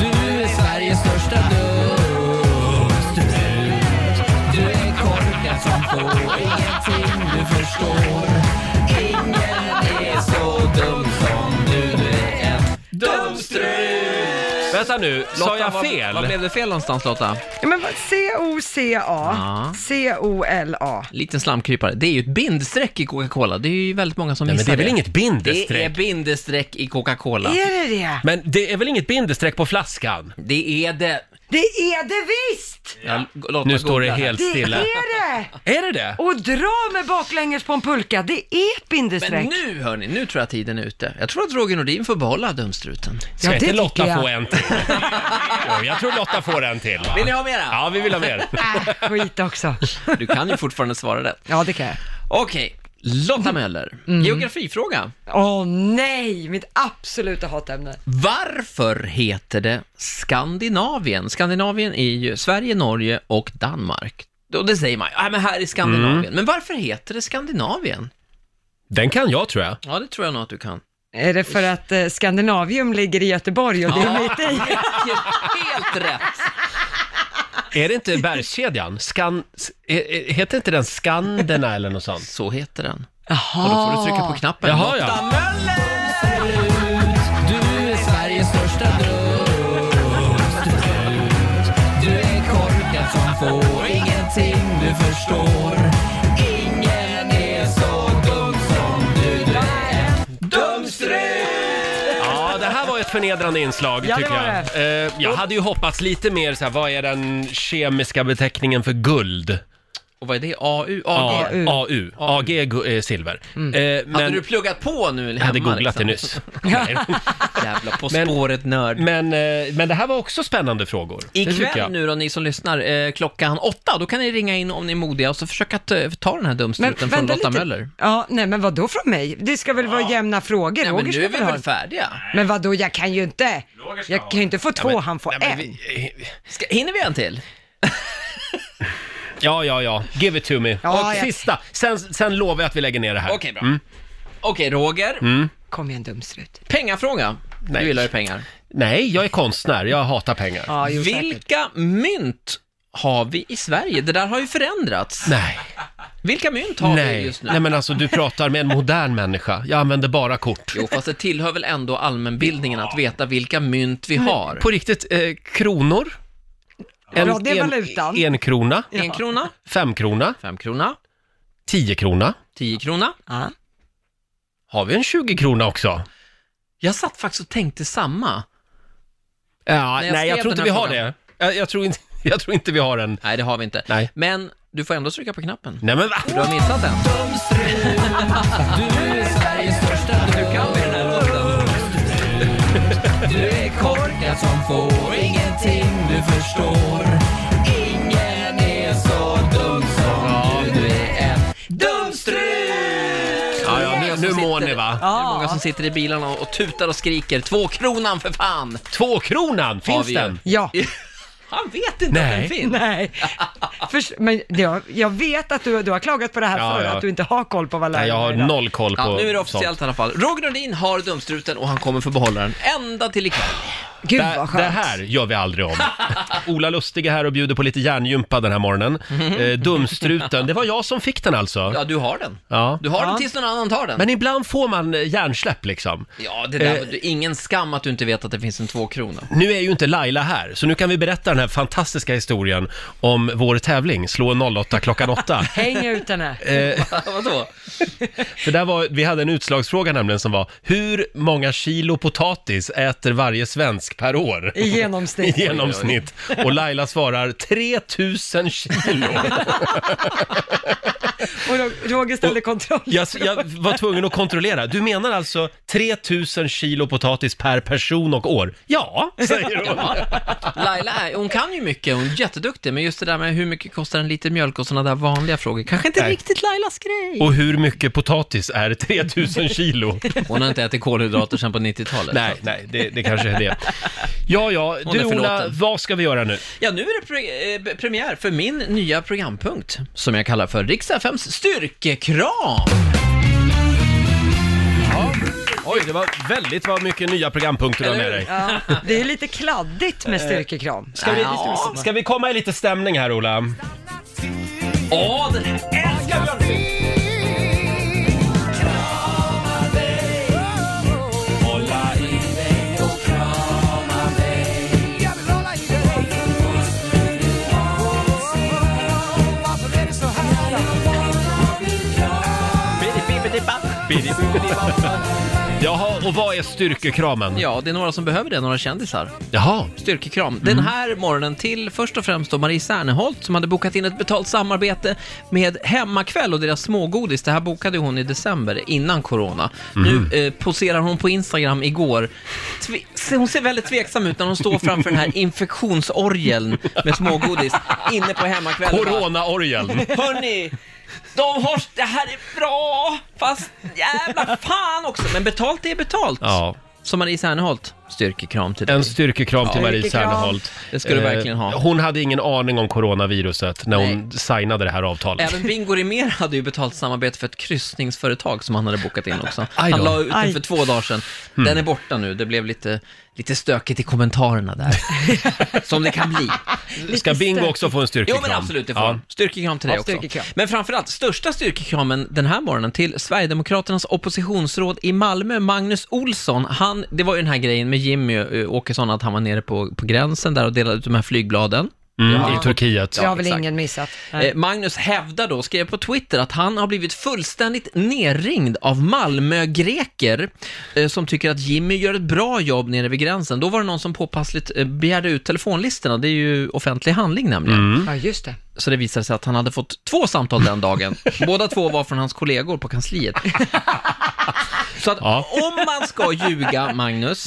J: Du är Sveriges största dumstrut. Du är korkad som får ingenting du förstår. Ingen är så dum som du är. Dumstrut!
A: Vänta nu, sa jag fel?
J: Vad blev det fel någonstans Lotta?
B: Ja, men vad- C-O-C-A.
J: Ja.
B: C-O-L-A.
J: Liten slamkrypare. Det är ju ett bindestreck i Coca-Cola. Det är ju väldigt många som
A: Nej, men det
J: missar
A: är väl inget
J: Det är
A: bindestreck?
J: bindestreck i Coca-Cola.
B: Är det det?
A: Men det är väl inget bindestreck på flaskan?
J: Det är det.
B: Det är det visst!
J: Ja, Lotta
A: Nu står det
J: googlar här.
A: helt
B: Det
A: stilla.
B: är det!
A: Är det det?
B: Och dra med baklänges på en pulka, det är ett
J: Men
B: bindestreck.
J: nu hörni, nu tror jag tiden är ute. Jag tror att Roger Nordin får behålla dumstruten.
A: Ska
B: Ja, det
A: inte Lotta
B: tycker jag.
A: få en till? [laughs] Jo, jag tror Lotta får en till. Va?
J: Vill ni ha mera?
A: Ja, vi vill ha mer.
B: Äh, skit också.
J: Du kan ju fortfarande svara rätt.
B: Ja, det kan jag.
J: Okej, Lotta Möller, geografifråga.
B: Åh nej, mitt absoluta hatämne.
J: Varför heter det Skandinavien? Skandinavien är ju Sverige, Norge och Danmark. Och det säger man ju, "Ah, men här är Skandinavien.
A: Mm.
J: Men varför heter det Skandinavien?
A: Den kan jag tror jag.
J: Ja, det tror jag nog att du kan.
B: Är det för att eh, Skandinavium ligger i Göteborg och det är mitt i?
J: Helt rätt.
A: Är det inte bergskedjan? Skan... s- eh, eh, Heter inte den Skanderna eller något sånt?
J: Så heter den.
B: Jaha.
J: Och då får du trycka på knappen.
A: Jaha, ja.
J: Lotta
I: Du är Sveriges största dutt. Du är korkad som får ingenting du förstår. Ingen är så dum som du, du är.
A: Ja, det här var ett förnedrande inslag
B: Ja, det
A: tycker
B: var
A: jag. Eh, jag hade ju hoppats lite mer så här, vad är den kemiska beteckningen för guld?
J: Och vad är det? AU?
A: A-
J: AG?
B: AU.
A: AU. AG är gu- eh, silver.
B: Mm.
A: Eh,
J: Hade
A: men
J: du pluggat på nu hemma?
A: jag hade googlat det
J: liksom?
A: nyss. Nej.
J: [laughs] Jävla På
A: Men-
J: spåret-nörd.
A: men, eh, men det här var också spännande frågor. Det tycker jag.
J: Ikväll nu då, ni som lyssnar, eh, klockan åtta, då kan ni ringa in om ni är modiga och så försöka ta, ta den här dumstruten från
B: vänta
J: Lotta
B: lite.
J: Möller.
B: Ja, nej men vad då från mig? Det ska väl vara jämna frågor?
J: Nej, men
B: Roger
J: nu
B: ska
J: är vi
B: ha
J: väl
B: en.
J: färdiga?
B: Men vad då, jag kan ju inte.
A: ska
B: Jag
A: ha
B: kan ju inte få två, han får
A: Nej, men
B: en.
A: vi- eh,
J: Ska, hinner vi en till?
A: Ja, ja, ja. Give it to me.
B: Ja,
A: och
B: ja.
A: sista. Sen, sen lovar jag att vi lägger ner det här.
J: Okej, bra. Okej, Roger.
B: Kom igen dumstrut.
J: Pengafråga.
A: Mm. Nej.
J: Du gillar ju pengar.
A: Nej, jag är konstnär. Jag hatar pengar.
B: Ja, jo, säkert.
J: Vilka mynt har vi i Sverige? Det där har ju förändrats.
A: Nej,
J: Vilka mynt har vi
A: nej.
J: just nu?
A: nej, men alltså du pratar med en modern människa. Jag använder bara kort.
J: Jo, fast det tillhör väl ändå allmänbildningen att veta vilka mynt vi har.
A: På riktigt, eh, kronor.
B: Ja, det är valutan.
A: En, en krona,
J: En krona,
A: fem krona,
J: fem krona,
A: tio krona.
J: tio krona.
B: Ja.
A: Har vi en 20 krona också?
J: Jag satt faktiskt och tänkte samma.
A: Ja,
J: Nej,
A: nej,
J: jag
A: jag,
J: skrev
A: tror inte
J: den
A: vi
J: här
A: har
J: frågan.
A: det. Jag, jag, tror inte, [laughs] jag tror inte vi har en.
J: Nej, det har vi inte.
A: Nej.
J: Men du får ändå trycka på knappen.
A: Nej men va?
J: Du har missat den.
I: Du är Sveriges största dutt. Du kan med den här låten. Du är korkad som får ingenting du förstår. Ingen är så dum som du, du är. Dumstrut!
A: Ja, ja, nu, nu mår ni va?
J: Det är många som sitter i bilarna och och tutar och skriker två kronan för fan!
A: Två kronan, finns
J: vi
A: den?
B: Ja,
J: Han vet inte
A: Nej.
J: att den finns!
B: nej. Förs- men jag, jag vet att du, du har klagat på det här
A: Ja,
B: förr,
A: ja.
B: att du inte har koll på vad
A: Nej, jag har
B: lärarna är idag.
A: noll koll på
J: Ja, nu är det
A: sånt.
J: officiellt i alla fall. Roger Nordin har dumstruten och han kommer få behålla den ända till ikväll.
B: Gud
A: Det,
B: vad skönt.
A: det här gör vi aldrig om. [laughs] Ola Lustig är här och bjuder på lite hjärngympa den här morgonen. Eh, dumstruten, det var jag som fick den alltså.
J: Ja, du har den.
A: Ja.
J: Du har den tills någon annan tar den.
A: Men ibland får man eh, hjärnsläpp liksom.
J: Ja, det där,
A: Eh.
J: var- det är ingen skam att du inte vet att det finns en tvåkrona. [laughs]
A: Nu är ju inte Laila här, så nu kan vi berätta den här fantastiska historien om vår tävling, Slå en 08
B: [laughs]
A: klockan 8.
B: Häng ut den här.
J: Vadå?
A: För där var, vi hade en utslagsfråga nämligen som var, hur många kilo potatis äter varje svensk per år?
B: I
A: [laughs] I
B: genomsnitt.
A: genomsnitt. Och Laila svarar 3000 kilo.
B: [laughs] Och då- Roger ställde kontroll.
A: Jag, jag var tvungen att kontrollera. Du menar alltså 3000 kilo potatis per person och år? Ja, säger hon.
B: [laughs]
A: [laughs]
J: Laila, är- hon kan ju mycket, hon är jätteduktig, men just det där med hur mycket kostar en liter mjölk och sådana där vanliga frågor, kanske inte riktigt Lailas grej.
A: Och hur mycket potatis
J: [laughs]
A: är 3000 kilo?
J: Hon har inte ätit kolhydrater sedan på 90-talet.
A: Nej, nej, det, det kanske är det. Ja, ja,
J: Hon
A: du
J: är
A: Ola,
J: förlåten.
A: vad ska vi göra nu?
J: Ja, nu är det pre- eh, premiär för min nya programpunkt som jag kallar för Rix FMs styrkekram.
A: Oj, det var väldigt vad mycket nya programpunkter du har med dig.
B: Ja, det är lite kladdigt
A: Eh,
B: med styrkekram.
A: Ska vi, ska vi komma i lite stämning här Ola?
J: Åh, den här älskar jag!
A: Jaha, och vad är styrkekramen?
J: Ja, det är några som behöver det, några kändisar.
A: Jaha,
J: Styrkekram. Den
A: Mm.
J: här morgonen till först och främst då Marie Serneholt som hade bokat in ett betalt samarbete med Hemmakväll och deras smågodis. Det här bokade hon i december innan corona.
A: Mm.
J: Nu eh, poserar hon på Instagram igår. Tve- se- hon ser väldigt tveksam ut när hon står framför den
A: [laughs]
J: här infektionsorgeln med smågodis inne på Hemmakväll. [laughs]
A: coronaorgeln.
J: Hörni, De har, det här är bra, fast jävla fan också. Men betalt är betalt.
A: Ja.
J: Som Marie Serneholt. Styrkekram till dig.
A: En styrkekram till
J: Ja.
A: Marie
J: Styrkekram.
A: Serneholt.
J: Det ska du
A: Eh,
J: verkligen ha.
A: Hon hade ingen aning om coronaviruset när hon
J: Nej.
A: signade det här avtalet.
J: Även Bingo Rimér hade ju betalt samarbete för ett kryssningsföretag som han hade bokat in också.
A: Aj då.
J: Han la ut
A: Aj.
J: den för två dagar sedan. Den är borta nu. Det blev lite, lite stökigt i kommentarerna där. [laughs] som det kan bli.
A: Ska Bingo också få en styrkekram?
J: Jo men absolut, det får
A: Ja.
J: han. Styrkekram till dig
A: Ja,
J: också.
A: styrkekram.
J: Men framförallt, största styrkekramen den här morgonen till Sverigedemokraternas oppositionsråd i Malmö, Magnus Olsson. Han, det var ju den här grejen med Jimmy eh, Åkesson, att han var nere på, på gränsen där och delade ut de här flygbladen.
A: Mm, i Turkiet.
B: Det har väl
J: exakt.
B: ingen missat. Nej.
J: Eh, Magnus hävdar då, skrev på Twitter, att han har blivit fullständigt nerringd av Malmögreker eh, som tycker att Jimmy gör ett bra jobb nere vid gränsen. Då var det någon som påpassligt eh, begärde ut telefonlistorna, det är ju offentlig handling nämligen.
B: Ja, just det.
J: Så det visade sig att han hade fått två samtal den dagen. Båda två var från hans kollegor på kansliet. Så att om man ska ljuga, Magnus,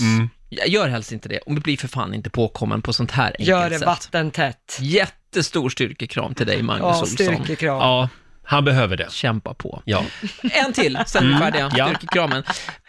J: gör helst inte det. Och bli för fan inte påkommen på sånt här enkelt
B: Gör det
J: sätt.
B: vattentätt.
A: Mm,
J: Jättestor styrkekram till dig, Magnus
B: Ja,
J: Olsson.
B: styrkekram.
A: Ja, han behöver det.
J: Kämpa på.
A: Ja.
J: En till, sen är vi
A: Mm,
J: färdiga.
A: ja.
J: Styrkekramen.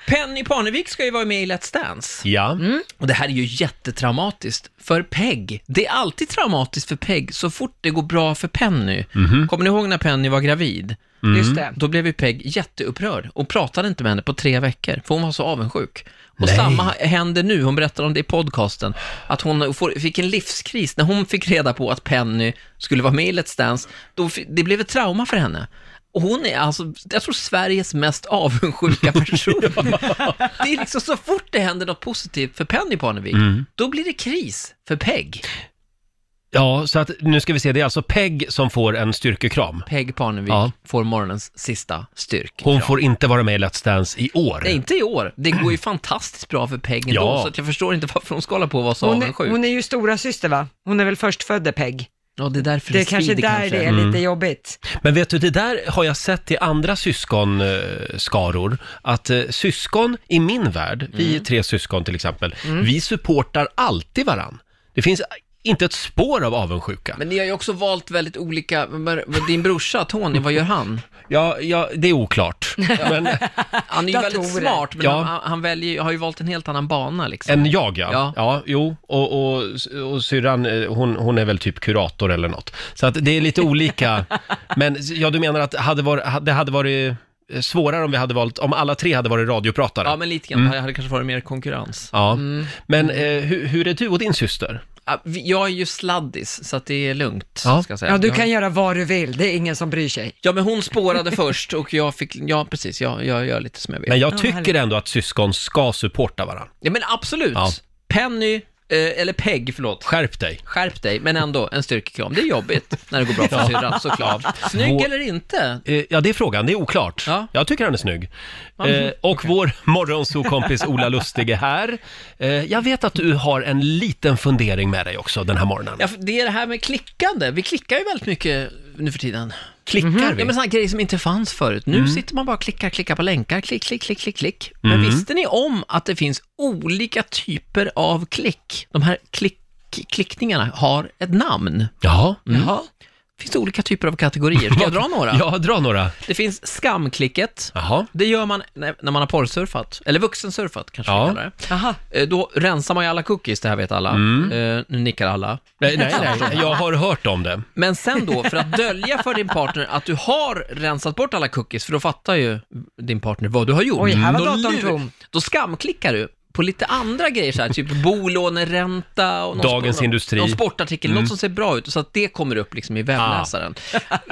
J: Penny Parnevik ska ju vara med i Let's Dance.
A: Ja.
B: Mm.
J: Och det här är ju jättetraumatiskt för Peg. Det är alltid traumatiskt för Peg så fort det går bra för Penny.
A: Mhm.
J: Kommer ni ihåg när Penny var gravid?
B: Mm. Just det.
J: Då blev ju Peg jätteupprörd och pratade inte med henne på tre veckor, för hon var så avundsjuk. Och
A: Nej.
J: samma händer nu, hon berättar om det i podcasten, att hon får, fick en livskris när hon fick reda på att Penny skulle vara med i Let's Dance. Då, fi- det blev ett trauma för henne. Och hon är alltså, jag tror Sveriges mest avundsjuka
A: [laughs]
J: person. [laughs] Det är liksom så fort det händer något positivt för Penny Parnevik,
A: Mm.
J: då blir det kris för Peg.
A: Ja, så att nu ska vi se, det är alltså Peg som får en styrkekram.
J: Peg Parnevik får morgonens sista styrk.
A: Hon får inte vara med i Let's Dance i år.
J: Nej, inte i år. Det går ju fantastiskt bra för Peg ändå,
A: Ja.
J: så att jag förstår inte varför hon ska hålla på och vara så
B: Hon är,
J: avundsjuk.
B: hon är ju stora syster va? Hon är väl förstfödde Peg?
J: Ja, det är därför
B: det är kanske där det är lite
A: Mm.
B: jobbigt.
A: Men vet du, det där har jag sett i andra syskonskaror. Att eh, syskon i min värld,
J: Mm.
A: vi är tre syskon till exempel, vi supportar alltid varann. Det finns inte ett spår av avundsjuka.
J: Men ni har ju också valt väldigt olika, men- men din brorsa Tony, vad gör han?
A: Ja, ja det
J: [laughs]
A: är oklart. Men,
J: Han är ju väldigt
A: Datorer.
J: smart, men
A: Ja.
J: han, han väljer, ju- har ju valt en helt annan bana liksom.
A: en jag ja. ja.
J: Ja.
A: jo. Och, och, och syrran, eh, hon, hon är väl typ kurator eller något. Så att det är lite
J: [laughs]
A: olika. Men ja, du menar att hade var, det hade varit eh, svårare om vi hade valt, om alla tre hade varit radiopratare?
J: Ja, men lite grann.
A: Mm.
J: Det hade kanske varit mer konkurrens.
A: Ja,
J: Mm.
A: men eh, hur, hur är du och din syster?
J: Ja, vi- Jag är ju sladdis, så att det är lugnt,
A: Ja.
J: ska jag säga.
B: Ja, du
J: Jag-
B: kan göra vad du vill. Det är ingen som bryr sig.
J: Ja, men hon spårade [laughs] först och jag fick, ja precis, jag, jag gör lite som jag vill.
A: Men
J: Ja,
A: jag tycker
J: härligt.
A: ändå att syskon ska supporta varandra.
J: Ja, men absolut.
A: Ja.
J: Penny, eh, eller Peg, förlåt.
A: Skärp dig.
J: Skärp dig, men ändå en styrkekram. Det är jobbigt när det går bra för
A: Ja.
J: syrran, såklart. Snygg
A: Vår-
J: eller inte?
A: Eh, Ja, det är frågan. Det är oklart. Jag tycker han är snygg.
J: Ja,
A: Eh, och vår morgonsokompis Ola Lustig är här. Eh, jag vet att du har en liten fundering med dig också den här morgonen.
J: Ja, för det är det här med klickande. Vi klickar ju väldigt mycket nu för tiden. Mhm.
A: Klickar vi?
J: Ja, men sådana grejer som inte fanns förut. Nu
A: Mm.
J: sitter man bara och klickar, klickar på länkar, klick, klick, klick, klick, klick. Men
A: Mm.
J: visste ni om att det finns olika typer av klick? De här klick, klickningarna har ett namn.
A: Jaha.
J: Mm. Jaha. Finns det olika typer av kategorier? Ska jag dra några?
A: [laughs] Ja, dra några.
J: Det finns skamklicket.
A: Jaha.
J: Det gör man när när man har porrsurfat, eller vuxensurfat kanske
A: Ja.
J: vi kallar det. Eh, Då rensar man ju alla cookies, det här vet alla.
A: Mm.
J: Eh, nu nickar alla.
A: Nej, nej, nej, jag har hört om det.
J: Men sen då, för att dölja för din partner att du har rensat bort alla cookies, för då fattar ju din partner vad du har gjort.
B: Oj, här var
J: Då
B: datorn
J: lur-
B: tom.
J: Då skamklickar du på lite andra grejer så här, typ bolåneränta och någon
A: Dagens
J: någon,
A: Industri.
J: Någon sportartikel,
A: Mm.
J: något som ser bra ut, så att det kommer upp liksom i webbläsaren.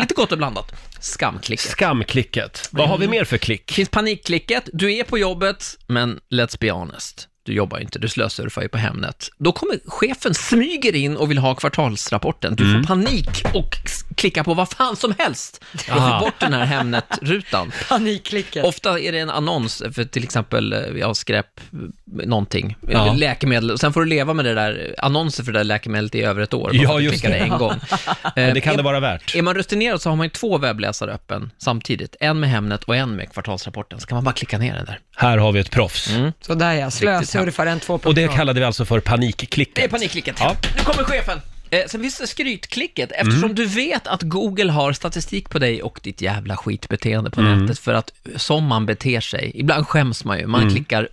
J: Lite gott och blandat. Skamklicket.
A: Skamklicket. Vad har vi mer för klick?
J: finns panikklicket, du är på jobbet, men let's be honest, du jobbar ju inte, du slösurfar ju på Hemnet. Då kommer chefen, smyger in och vill ha kvartalsrapporten. Du
A: Mm.
J: får panik och s- klickar på vad fan som helst för
A: Aha.
J: att få bort den här Hemnet-rutan.
B: Panikklicket.
J: Ofta är det en annons för till exempel, eh, ja, skräp, eh, någonting,
A: Ja.
J: Eh, läkemedel. Och Sen får du leva med det där, eh, annonser för det där läkemedlet i över ett år. bara
A: Ja,
J: för att du
A: just
J: klickar
A: det.
J: en gång.
A: [laughs] Men det kan
J: Eh,
A: det vara värt.
J: är man rutinerad så har man ju två webbläsare öppen samtidigt. En med Hemnet och en med kvartalsrapporten. Så kan man bara klicka ner den där.
A: Här har vi ett proffs.
B: Så där ja, slösurfaren 2.0.
A: Och det kallade vi alltså för panikklicket.
J: Det är panikklicket.
A: Ja.
J: Nu kommer chefen! Eh, sen finns det skrytklicket, eftersom
E: Mm.
J: du vet att Google har statistik på dig och ditt jävla skitbeteende på
E: Mm.
J: nätet för att som man beter sig, ibland skäms man ju, man
E: Mm.
J: klickar,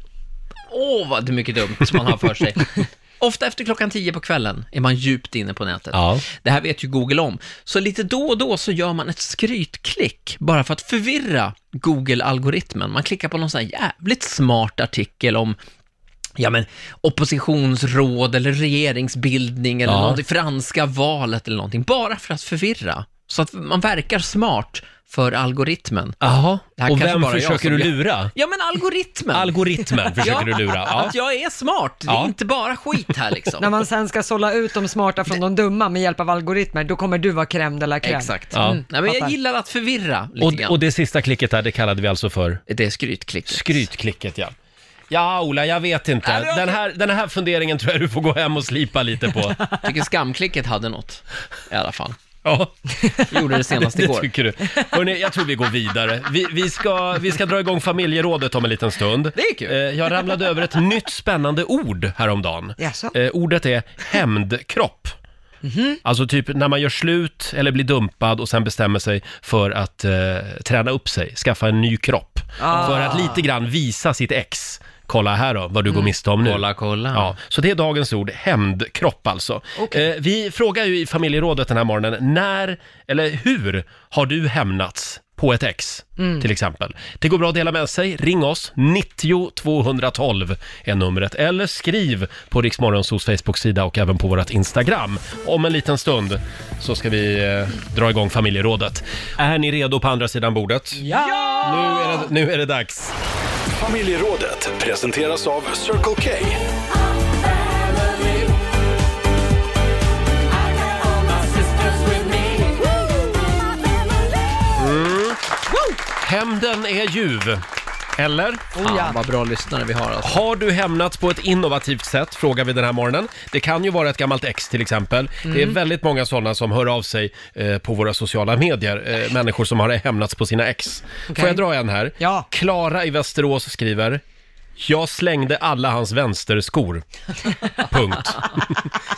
J: åh vad det är mycket dumt som man har för sig. Ofta efter klockan tio på kvällen är man djupt inne på nätet. Det här vet ju Google om. Så lite då och då så gör man ett skrytklick bara för att förvirra Google-algoritmen. Man klickar på någon sån här jävligt smart artikel om ja, men, oppositionsråd eller regeringsbildning eller
I: Ja.
J: något, det franska valet eller någonting. Bara för att förvirra. Så att man verkar smart för algoritmen.
A: Jaha,
J: Det här
A: och
J: kanske
A: vem
J: bara jag
A: försöker
J: som
A: du
J: gör.
A: lura?
J: Ja, men algoritmen.
A: [laughs] Algoritmen försöker
J: Ja,
A: du lura. Ja.
J: Att jag är smart, det är
A: Ja.
J: inte bara skit här liksom.
B: När man sen ska sålla ut de smarta från de dumma med hjälp av algoritmer, då kommer du vara crème de la crème.
J: Exakt.
A: Ja.
J: Mm. Nej, men jag
B: Fattar.
J: gillar att förvirra lite
A: Och,
J: grann.
A: och det sista klicket där, det kallade vi alltså för?
J: Det är skrytklicket.
A: Skrytklicket, ja. Ja, Ola, jag vet inte. Den här, den här funderingen tror jag du får gå hem och slipa lite [laughs] på.
J: Jag tycker skamklicket hade något, i alla fall.
A: Ja.
J: Jag
A: [laughs]
J: gjorde det senast
A: det,
J: igår.
A: Det tycker du. Hörrni, jag tror vi går vidare. Vi, vi, ska, vi ska dra igång familjerådet om en liten stund.
J: Det är kul.
A: Eh, Jag ramlade över ett nytt spännande ord häromdagen.
B: Jaså?
A: Eh, Ordet är hämndkropp.
J: Mhm.
A: Alltså typ när man gör slut eller blir dumpad och sen bestämmer sig för att eh, träna upp sig, skaffa en ny kropp.
E: Ah.
A: För att lite grann visa sitt ex. Kolla här då, vad du
J: Mm.
A: går miste om nu.
J: Kolla, kolla.
A: Ja, så det är dagens ord, hämndkropp alltså. Eh, vi frågar ju i familjerådet den här morgonen, när eller hur har du hämnats på ett ex
I: Mm.
A: till exempel? Det går bra att dela med sig, ring oss, 90 212 är numret, eller skriv på Riksmorgonsos Facebook-sida och även på vårt Instagram. Om en liten stund så ska vi eh, dra igång familjerådet. Är ni redo på andra sidan bordet? Ja! Nu är det, nu är det dags.
C: Familjerådet presenteras av Circle K.
A: Mm. Hämnden är ljuv. Eller?
J: Fan, ja. vad bra lyssnare vi har alltså.
A: Har du hämnats på ett innovativt sätt? Frågar vi den här morgonen. Det kan ju vara ett gammalt ex till exempel. Det är
J: Mm.
A: väldigt många sådana som hör av sig eh, på våra sociala medier.
J: Äh.
A: Eh, människor som har hämnats på sina ex. Får
B: Okej.
A: jag dra en här? Ja. Klara i Västerås skriver jag slängde alla
J: [laughs]
A: hans vänsterskor. Punkt.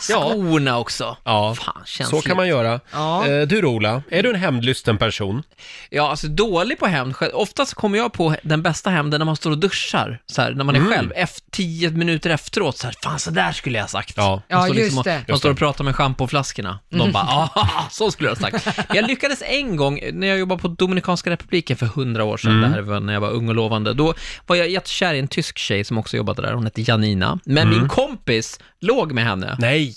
J: Skorna också.
A: Ja, så
J: känsligt.
A: kan man göra.
J: Ja.
A: Eh, Du då, Ola, är du en hämndlysten person?
J: Ja, alltså dålig på hämnd. Själv- Oftast kommer jag på den bästa hämnden när man står och duschar, så här, när man är
A: Mm.
J: själv, efter, tio minuter efteråt, så här, fan så där skulle jag ha sagt. Ja,
A: Ja,
J: står liksom
A: just
J: och,
A: det.
J: Man
A: Just
J: står
A: det.
J: och pratar med schampoflaskorna. De
A: Mm.
J: bara, ah, så skulle jag ha sagt. Jag lyckades en gång, när jag jobbade på Dominikanska republiken för hundra år sedan,
E: Mm.
J: det här var när jag var ung och lovande, då var jag jättekär i en tysk tjej som också jobbade där, hon hette Janina, men
E: Mm.
J: min kompis låg med henne.
A: Nej!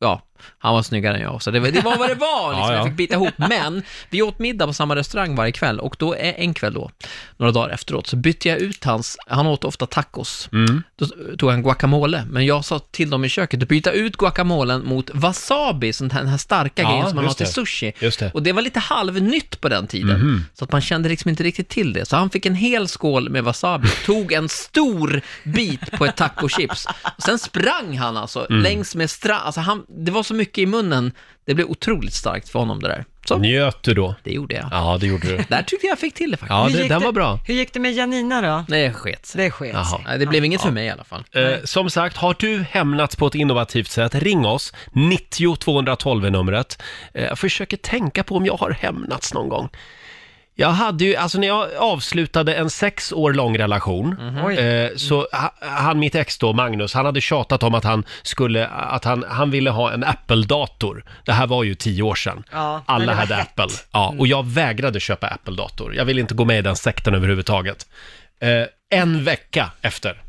J: ja, han var snyggare än jag, så det var, det var vad det
E: [laughs]
J: var. Liksom.
E: Ja, ja.
J: Jag fick bita ihop. Men vi åt middag på samma restaurang varje kväll och då, eh, en kväll då, några dagar efteråt, så bytte jag ut hans, han åt ofta tacos.
E: Mm.
J: Då tog han guacamole, men jag sa till dem i köket att byta ut guacamolen mot wasabi, sånt här, den här starka
E: Ja,
J: grejen som man har
E: just
J: till
E: det.
J: sushi.
E: Just det.
J: Och det var lite halvnytt på den tiden,
E: Mhm.
J: så att man kände liksom inte riktigt till det. Så han fick en hel skål med wasabi, tog en stor bit på ett tacochips. Och Sen sprang han alltså
A: Mm.
J: längs med stra... Alltså han, det var så mycket i munnen, det blev otroligt starkt för honom det där. Så.
A: Njöt du då?
J: Det gjorde jag.
A: Ja,
J: [laughs]
A: det gjorde du.
J: Där tyckte jag fick till det faktiskt.
A: Ja,
J: Hur
A: det,
J: gick
A: den var bra.
B: Hur gick det med Janina då?
J: Nej, det sket sig.
B: Det sket sig.
J: Nej, det blev inget för mig i alla fall.
A: Eh, som sagt, har du hämnats på ett innovativt sätt, ring oss. 90 212 är numret. Eh, jag försöker tänka på om jag har hämnats någon gång. Jag hade ju, alltså när jag avslutade en sex år lång relation,
B: Mhm.
E: Oj.
A: eh, så ha- han, mitt ex då, Magnus, han hade tjatat om att han skulle, att han, han ville ha en Apple-dator. Det här var ju tio år sedan.
B: Ja, men
A: Alla
B: det var
A: hade
B: hett. Mm.
A: Apple. Ja, och jag vägrade köpa Apple-dator. Jag ville inte gå med i den sekten överhuvudtaget. Eh, en vecka efter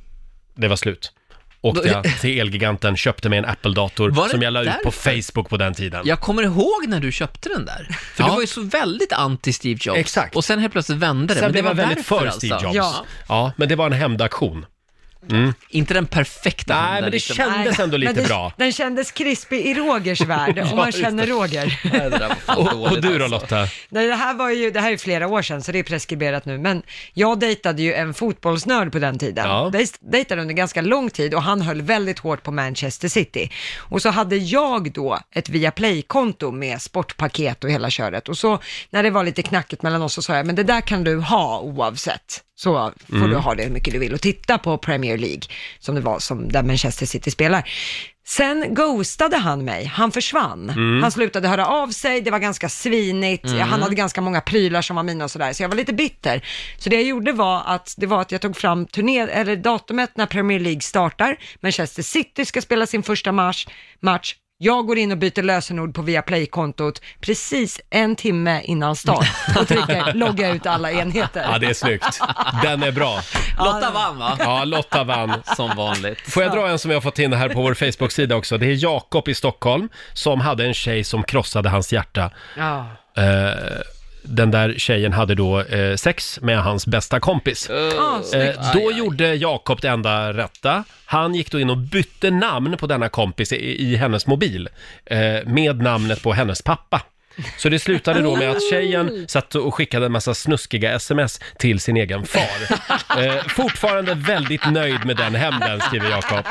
A: det var slut
J: [laughs]
A: åkte jag till Elgiganten, köpte mig en
J: Var
A: Apple-dator
J: det
A: som jag la ut på
J: därför?
A: Facebook på den tiden.
J: Jag kommer ihåg när du köpte den där. För
A: Ja.
J: du var ju så väldigt anti Steve Jobs. Exakt. Och sen helt plötsligt vände det.
A: Sen
J: men det
A: blev jag väldigt
J: därför
A: för
J: alltså.
A: Steve Jobs. Ja. men det var en hämndaktion.
J: Inte den perfekta
A: Nej,
J: hämnden,
A: men det
J: liksom.
A: kändes
B: Nej,
A: ändå lite
B: men den,
A: bra.
B: Den kändes krispig i Rogers
A: [laughs]
B: värld,
A: Ja,
B: om man
A: just
B: känner
A: det.
B: Roger.
A: Och, och du
J: alltså.
A: då Lotta?
B: Nej, det här var ju, det här är flera år sedan så det är preskriberat nu, men jag dejtade ju en fotbollsnörd på den tiden.
A: Ja.
B: Dej- Dejtade under ganska lång tid och han höll väldigt hårt på Manchester City. Och så hade jag då ett Viaplay-konto med sportpaket och hela köret. Och så när det var lite knackigt mellan oss så sa jag, men det där kan du ha oavsett. Så får
K: Mm.
B: du ha det hur mycket du vill och titta på Premier League, som det var, som där Manchester City spelar. Sen ghostade han mig, han försvann.
I: Mm.
B: Han slutade höra av sig, det var ganska svinigt,
I: Mm.
B: han hade ganska många prylar som var mina och sådär, så jag var lite bitter. Så det jag gjorde var att, det var att jag tog fram turné, eller datumet när Premier League startar, Manchester City ska spela sin första mars, match, jag går in och byter lösenord på Viaplay-kontot precis en timme innan start och trycker logga ut alla enheter.
A: Ja, det är snyggt. Den
J: [laughs]
A: är bra.
J: Lotta vann
B: [laughs]
J: va?
A: Ja, Lotta vann.
J: Som vanligt.
A: Får jag dra en som vi har fått in här på vår Facebook-sida också? Det är Jakob i Stockholm som hade en tjej som krossade hans hjärta.
B: Ja.
A: Eh, den där tjejen hade då eh, sex med hans bästa kompis. Eh,
I: Ah, snyggt.
A: då gjorde Jakob det enda rätta. Han gick då in och bytte namn på denna kompis i, i hennes mobil eh, med namnet på hennes pappa. Så det slutade då med att tjejen satt och skickade en massa snuskiga sms till sin egen far. Eh, fortfarande väldigt nöjd med den hämnden, skriver Jakob.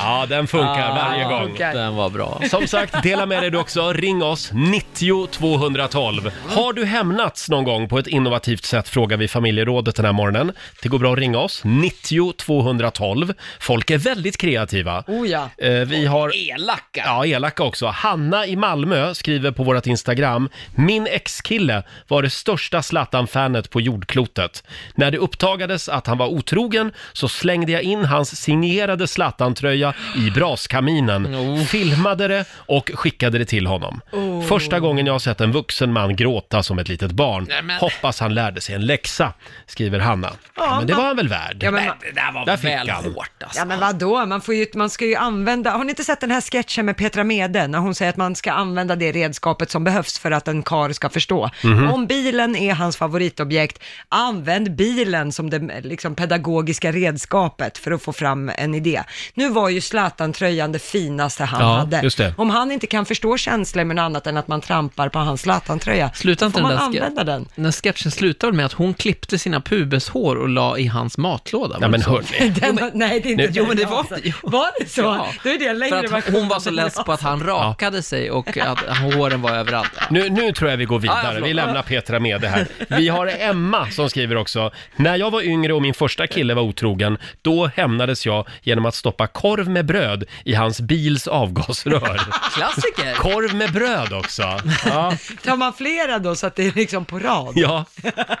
A: Ja, den funkar
J: Ah,
A: varje
J: den
A: gång.
J: funkar. Den var bra.
A: Som sagt, dela med dig du också. Ring oss, 90 212. Har du hämnats någon gång på ett innovativt sätt frågar vi familjerådet den här morgonen. Det går bra att ringa oss, 90 212. Folk är väldigt kreativa.
B: Oh ja.
A: Eh, Vi har...
J: Elaka!
A: Ja, elaka också. Hanna i Malmö skriver på vårt Instagram. Min ex-kille var det största Zlatan-fanet på jordklotet. När det upptagades att han var otrogen så slängde jag in hans signerade Zlatan-tröja i braskaminen, filmade det och skickade det till honom.
I: Oh.
A: Första gången jag har sett en vuxen man gråta som ett litet barn.
J: Nej, men-
A: Hoppas han lärde sig en läxa, skriver Hanna.
B: Ja,
A: men det
B: man-
A: var han väl värd?
B: Ja, men man-
J: Det där var
A: Där fick
J: väl
A: han.
J: hårt alltså.
B: Ja men vadå, man, får ju, man ska ju använda, har ni inte sett den här sketchen med Petra Mede när hon säger att man ska använda det redskapet som behövs för att en kar ska förstå?
I: Mhm.
B: Om bilen är hans favoritobjekt, använd bilen som det liksom, pedagogiska redskapet för att få fram en idé. Nu var ju Zlatan-tröjan det finaste han
A: Ja,
B: hade.
A: just det.
B: Om han inte kan förstå känslor med något annat än att man trampar på hans Zlatan-tröja,
J: Slutar inte
B: får man
J: den där ske-
B: använda den.
J: Den här sketchen slutar väl med att hon klippte sina pubeshår och la i hans matlåda? var
A: Ja,
J: det
A: men
J: så?
A: hörni.
B: Den, [laughs] nej, det är inte
J: Jo
B: den
J: men det
B: jag
J: var,
B: sa.
J: var
B: det så? Då är det längre
J: För att
B: version
J: hon var så
B: än
J: less
B: jag
J: på att han rakade sig och att håren var överallt.
A: Nu, nu tror jag vi går
J: Ah, ja,
A: vidare.
J: förlåt.
A: Vi lämnar Petra med det här. Vi har Emma som skriver också. När jag var yngre och min första kille var otrogen, då hämnades jag genom att stoppa korv med bröd i hans bils [laughs] avgasrör.
J: Klassiker!
A: Korv med bröd också. Ja,
B: Tar man flera då så att det är liksom på rad?
A: ja.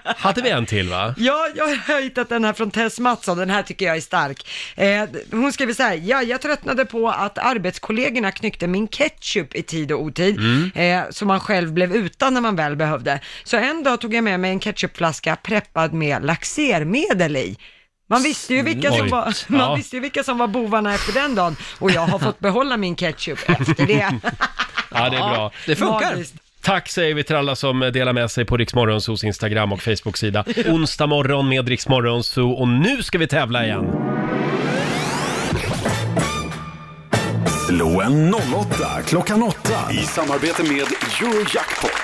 A: hade vi en till va?
B: Ja, jag har hittat den här från Tess Mattsson, den här tycker jag är stark. Eh, hon skriver så här, ja, jag tröttnade på att arbetskollegorna knyckte min ketchup i tid och otid,
I: Mm.
B: eh, som man själv blev utan när man väl behövde. Så en dag tog jag med mig en ketchupflaska preppad med laxermedel i. Man visste, ju vilka som
I: Snyggt.
B: var, [laughs]
I: Ja.
B: man visste ju vilka som var bovarna efter den dagen och jag har fått behålla min ketchup efter det.
A: Ja, det är bra.
J: Det funkar.
B: Magiskt.
A: Tack säger vi till alla som delar med sig på Riksmorgons hos Instagram och Facebook-sida. Onsdag morgon med Riksmorgons och nu ska vi tävla igen.
C: Slå en 08 klockan 8 i samarbete med Eurojackpot.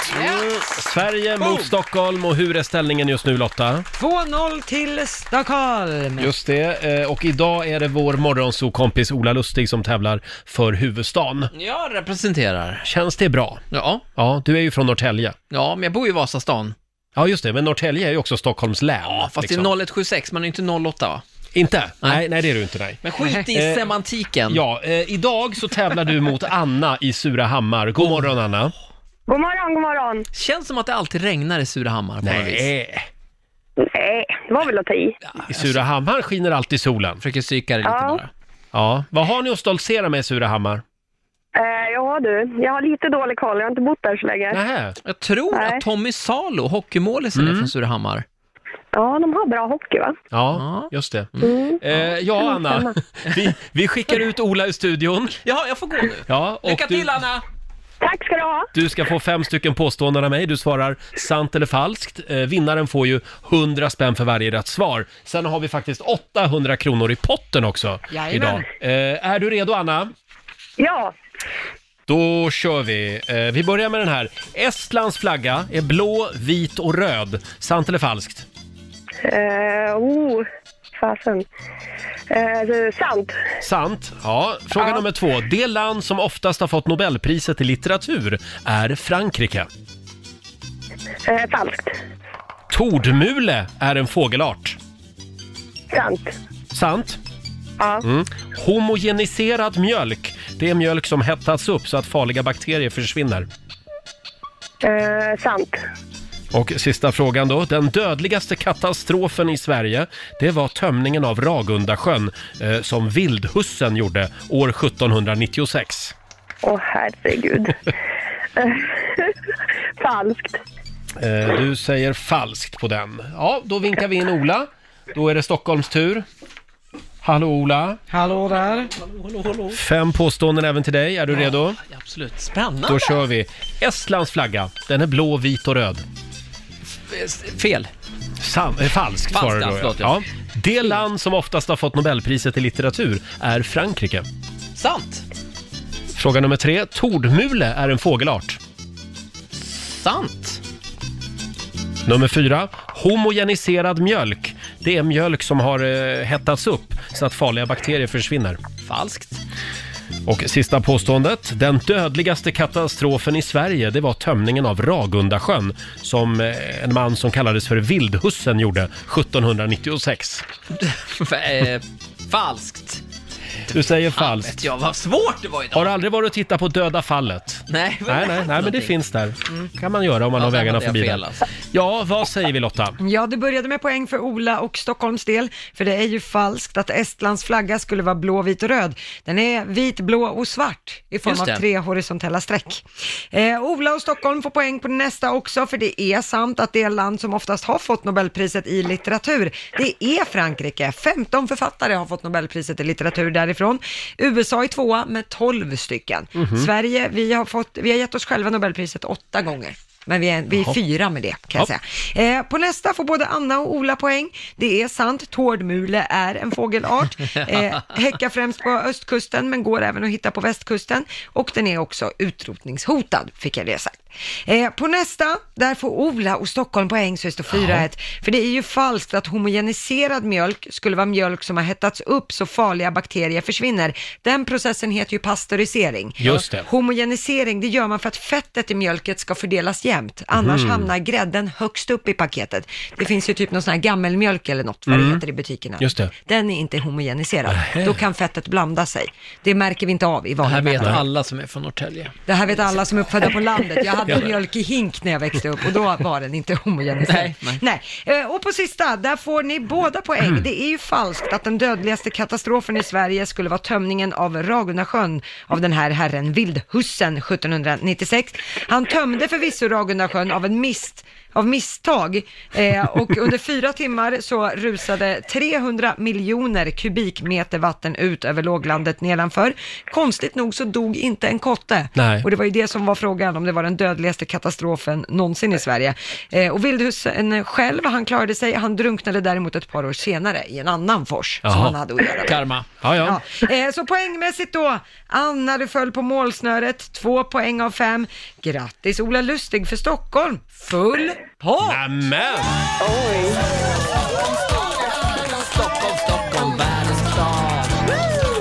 A: Sverige mot Stockholm och hur är ställningen just nu Lotta?
B: 2-0 till Stockholm.
A: Just det, eh, och idag är det vår morgonsokompis Ola Lustig som tävlar för huvudstaden.
J: Jag representerar.
A: Känns det bra?
J: Ja.
A: Ja, du är ju från Norrtälje.
J: ja, men jag bor ju i Vasastan.
A: Ja, just det, men Norrtälje är ju också Stockholms län. Ja,
J: Fast det är 0176, man är ju inte 08 va?
A: Inte? Nej, nej, det är du inte, nej.
J: Men skit i
A: Eh,
J: semantiken.
A: Ja, eh, idag så tävlar du mot Anna i Surahammar.
J: Oh.
A: God morgon Anna.
K: God morgon, god morgon.
J: Känns som att det alltid regnar i Surahammar på något vis.
A: Nej,
K: Nej, Eh, det var väl att ta i.
A: i Surahammar skiner alltid solen.
J: Försöker psyka dig lite
K: Ja.
J: bara.
A: Ja, vad har ni att stoltsera med i Surahammar?
K: Eh, ja du, jag har lite dålig koll. Jag har inte bott där så länge.
A: Nähä.
J: Jag tror
K: Nej.
J: att Tommy Salo, hockeymålisen,
A: Mm.
J: är från Surahammar.
K: Ja, de har bra hockey va?
A: Ja, just det.
K: Mm.
A: Eh, ja, Anna. Vi, vi skickar ut Ola ur studion.
J: Jaha, jag får gå nu.
A: Ja, och
J: Lycka
A: du-
J: till Anna!
K: Tack ska du ha.
A: Du ska få fem stycken påståenden av mig. Du svarar sant eller falskt. Eh, vinnaren får ju 100 spänn för varje rätt svar. Sen har vi faktiskt 800 kronor i potten också
K: Jajamän.
A: idag. Eh, är du redo, Anna?
K: Ja,
A: Då kör vi. Eh, vi börjar med den här. Estlands flagga är blå, vit och röd. Sant eller falskt?
K: eh, oh, fasen. Eh, det är sant.
A: Sant. Ja, fråga nummer två. Det land som oftast har fått Nobelpriset i litteratur är Frankrike.
K: Eh, falskt.
A: Tordmule är en fågelart.
K: Sant.
A: Sant.
K: Ja.
A: Mm. Homogeniserad mjölk, Det är mjölk som hettas upp så att farliga bakterier försvinner.
K: Eh, sant.
A: Och sista frågan då. Den dödligaste katastrofen i Sverige, det var tömningen av Ragundasjön eh, som vildhussen gjorde år 1796.
K: Åh,
A: [laughs]
K: herregud. Eh, [laughs] Falskt.
A: Eh, du säger falskt på den. Ja, då vinkar vi in Ola. Då är det Stockholms tur. Hallå Ola!
B: Hallå där!
J: Hallå, hallå.
A: Fem påståenden även till dig. Är du redo?
J: Absolut. Spännande.
A: Då kör vi. Estlands flagga, den är blå, vit och röd.
J: Fel.
A: Sam, eh,
J: Falskt,
A: falskt svarar du
J: ja,
A: då.
J: förlåt,
A: ja.
J: ja.
A: Det land som oftast har fått Nobelpriset i litteratur är Frankrike.
J: Sant.
A: Fråga nummer tre. Tordmule är en fågelart.
J: Sant.
A: Nummer fyra. Homogeniserad mjölk. Det är mjölk som har eh, hettats upp så att farliga bakterier försvinner.
J: Falskt. [laughs]
A: Och sista påståendet. Den dödligaste katastrofen i Sverige, det var tömningen av Ragundasjön som eh, en man som kallades för Vildhussen gjorde 1796.
J: F- eh, falskt.
A: Du säger falskt.
J: Ja, vad svårt det var idag.
A: Har du aldrig varit och tittat på Döda fallet?
J: Nej.
A: nej, nej, nej men det finns där. kan man göra om man
J: Mm. Ja,
A: har
J: där
A: vägarna
J: hade jag
A: förbi
J: fel,
A: där.
J: alltså.
A: Ja, vad säger vi Lotta?
B: Ja, det började med poäng för Ola och Stockholms del, för det är ju falskt att Estlands flagga skulle vara blå, vit och röd. Den är vit, blå och svart i form
J: Just
B: av
J: det.
B: tre horisontella streck. Eh, Ola och Stockholm får poäng på nästa också, för det är sant att det land som oftast har fått Nobelpriset i litteratur, det är Frankrike. 15 författare har fått Nobelpriset i litteratur därifrån. USA är tvåa med 12 stycken.
F: Mhm.
B: Sverige, vi har, fått, vi har gett oss själva Nobelpriset åtta gånger. Men vi är, vi är
F: Jaha.
B: fyra med det kan jag
F: Ja.
B: säga. Eh, på nästa får både Anna och Ola poäng. Det är sant, tårdmule är en fågelart. Eh, häckar främst på östkusten men går även att hitta på västkusten. Och den är också utrotningshotad, fick jag det sagt. Eh, på nästa, där får Ola och Stockholm poäng så det står 4-1. För det är ju falskt att homogeniserad mjölk skulle vara mjölk som har hettats upp så farliga bakterier försvinner. Den processen heter ju pasteurisering.
A: Just det.
B: Homogenisering, det gör man för att fettet i mjölket ska fördelas jämnt. Annars
A: Mhm.
B: hamnar grädden högst upp i paketet. Det finns ju typ någon sån här gammelmjölk eller något, vad
A: Mm.
B: det heter i butikerna.
A: Just det.
B: Den är inte homogeniserad. Då kan fettet blanda sig. Det märker vi inte av i
J: Det här
B: vanliga
J: vet
B: människor.
J: alla som är från Norrtälje.
B: Det här vet alla som är uppfödda på landet. Jag hade
J: Ja.
B: mjölk i hink när jag växte upp och då var den inte homogeniserad.
J: Nej, nej. Mm.
B: Eh, Och på sista, där får ni båda poäng. Det är ju falskt att den dödligaste katastrofen i Sverige skulle vara tömningen av Ragundasjön av den här herren Vildhussen 1796. Han tömde förvisso Ragundasjön av en mist av misstag eh, och under fyra timmar så rusade 300 miljoner kubikmeter vatten ut över låglandet nedanför. Konstigt nog så dog inte en kotte.
A: Nej.
B: Och det var ju det som var frågan, om det var den dödligaste katastrofen någonsin i Sverige. Eh, och vildhusen själv, han klarade sig, han drunknade däremot ett par år senare i en annan fors som han hade att göra med.
J: Karma.
A: Ja, ja.
B: Eh, så poängmässigt då, Anna du föll på målsnöret, två poäng av fem. Grattis Ola Lustig för Stockholm, full pott!
A: Nämen!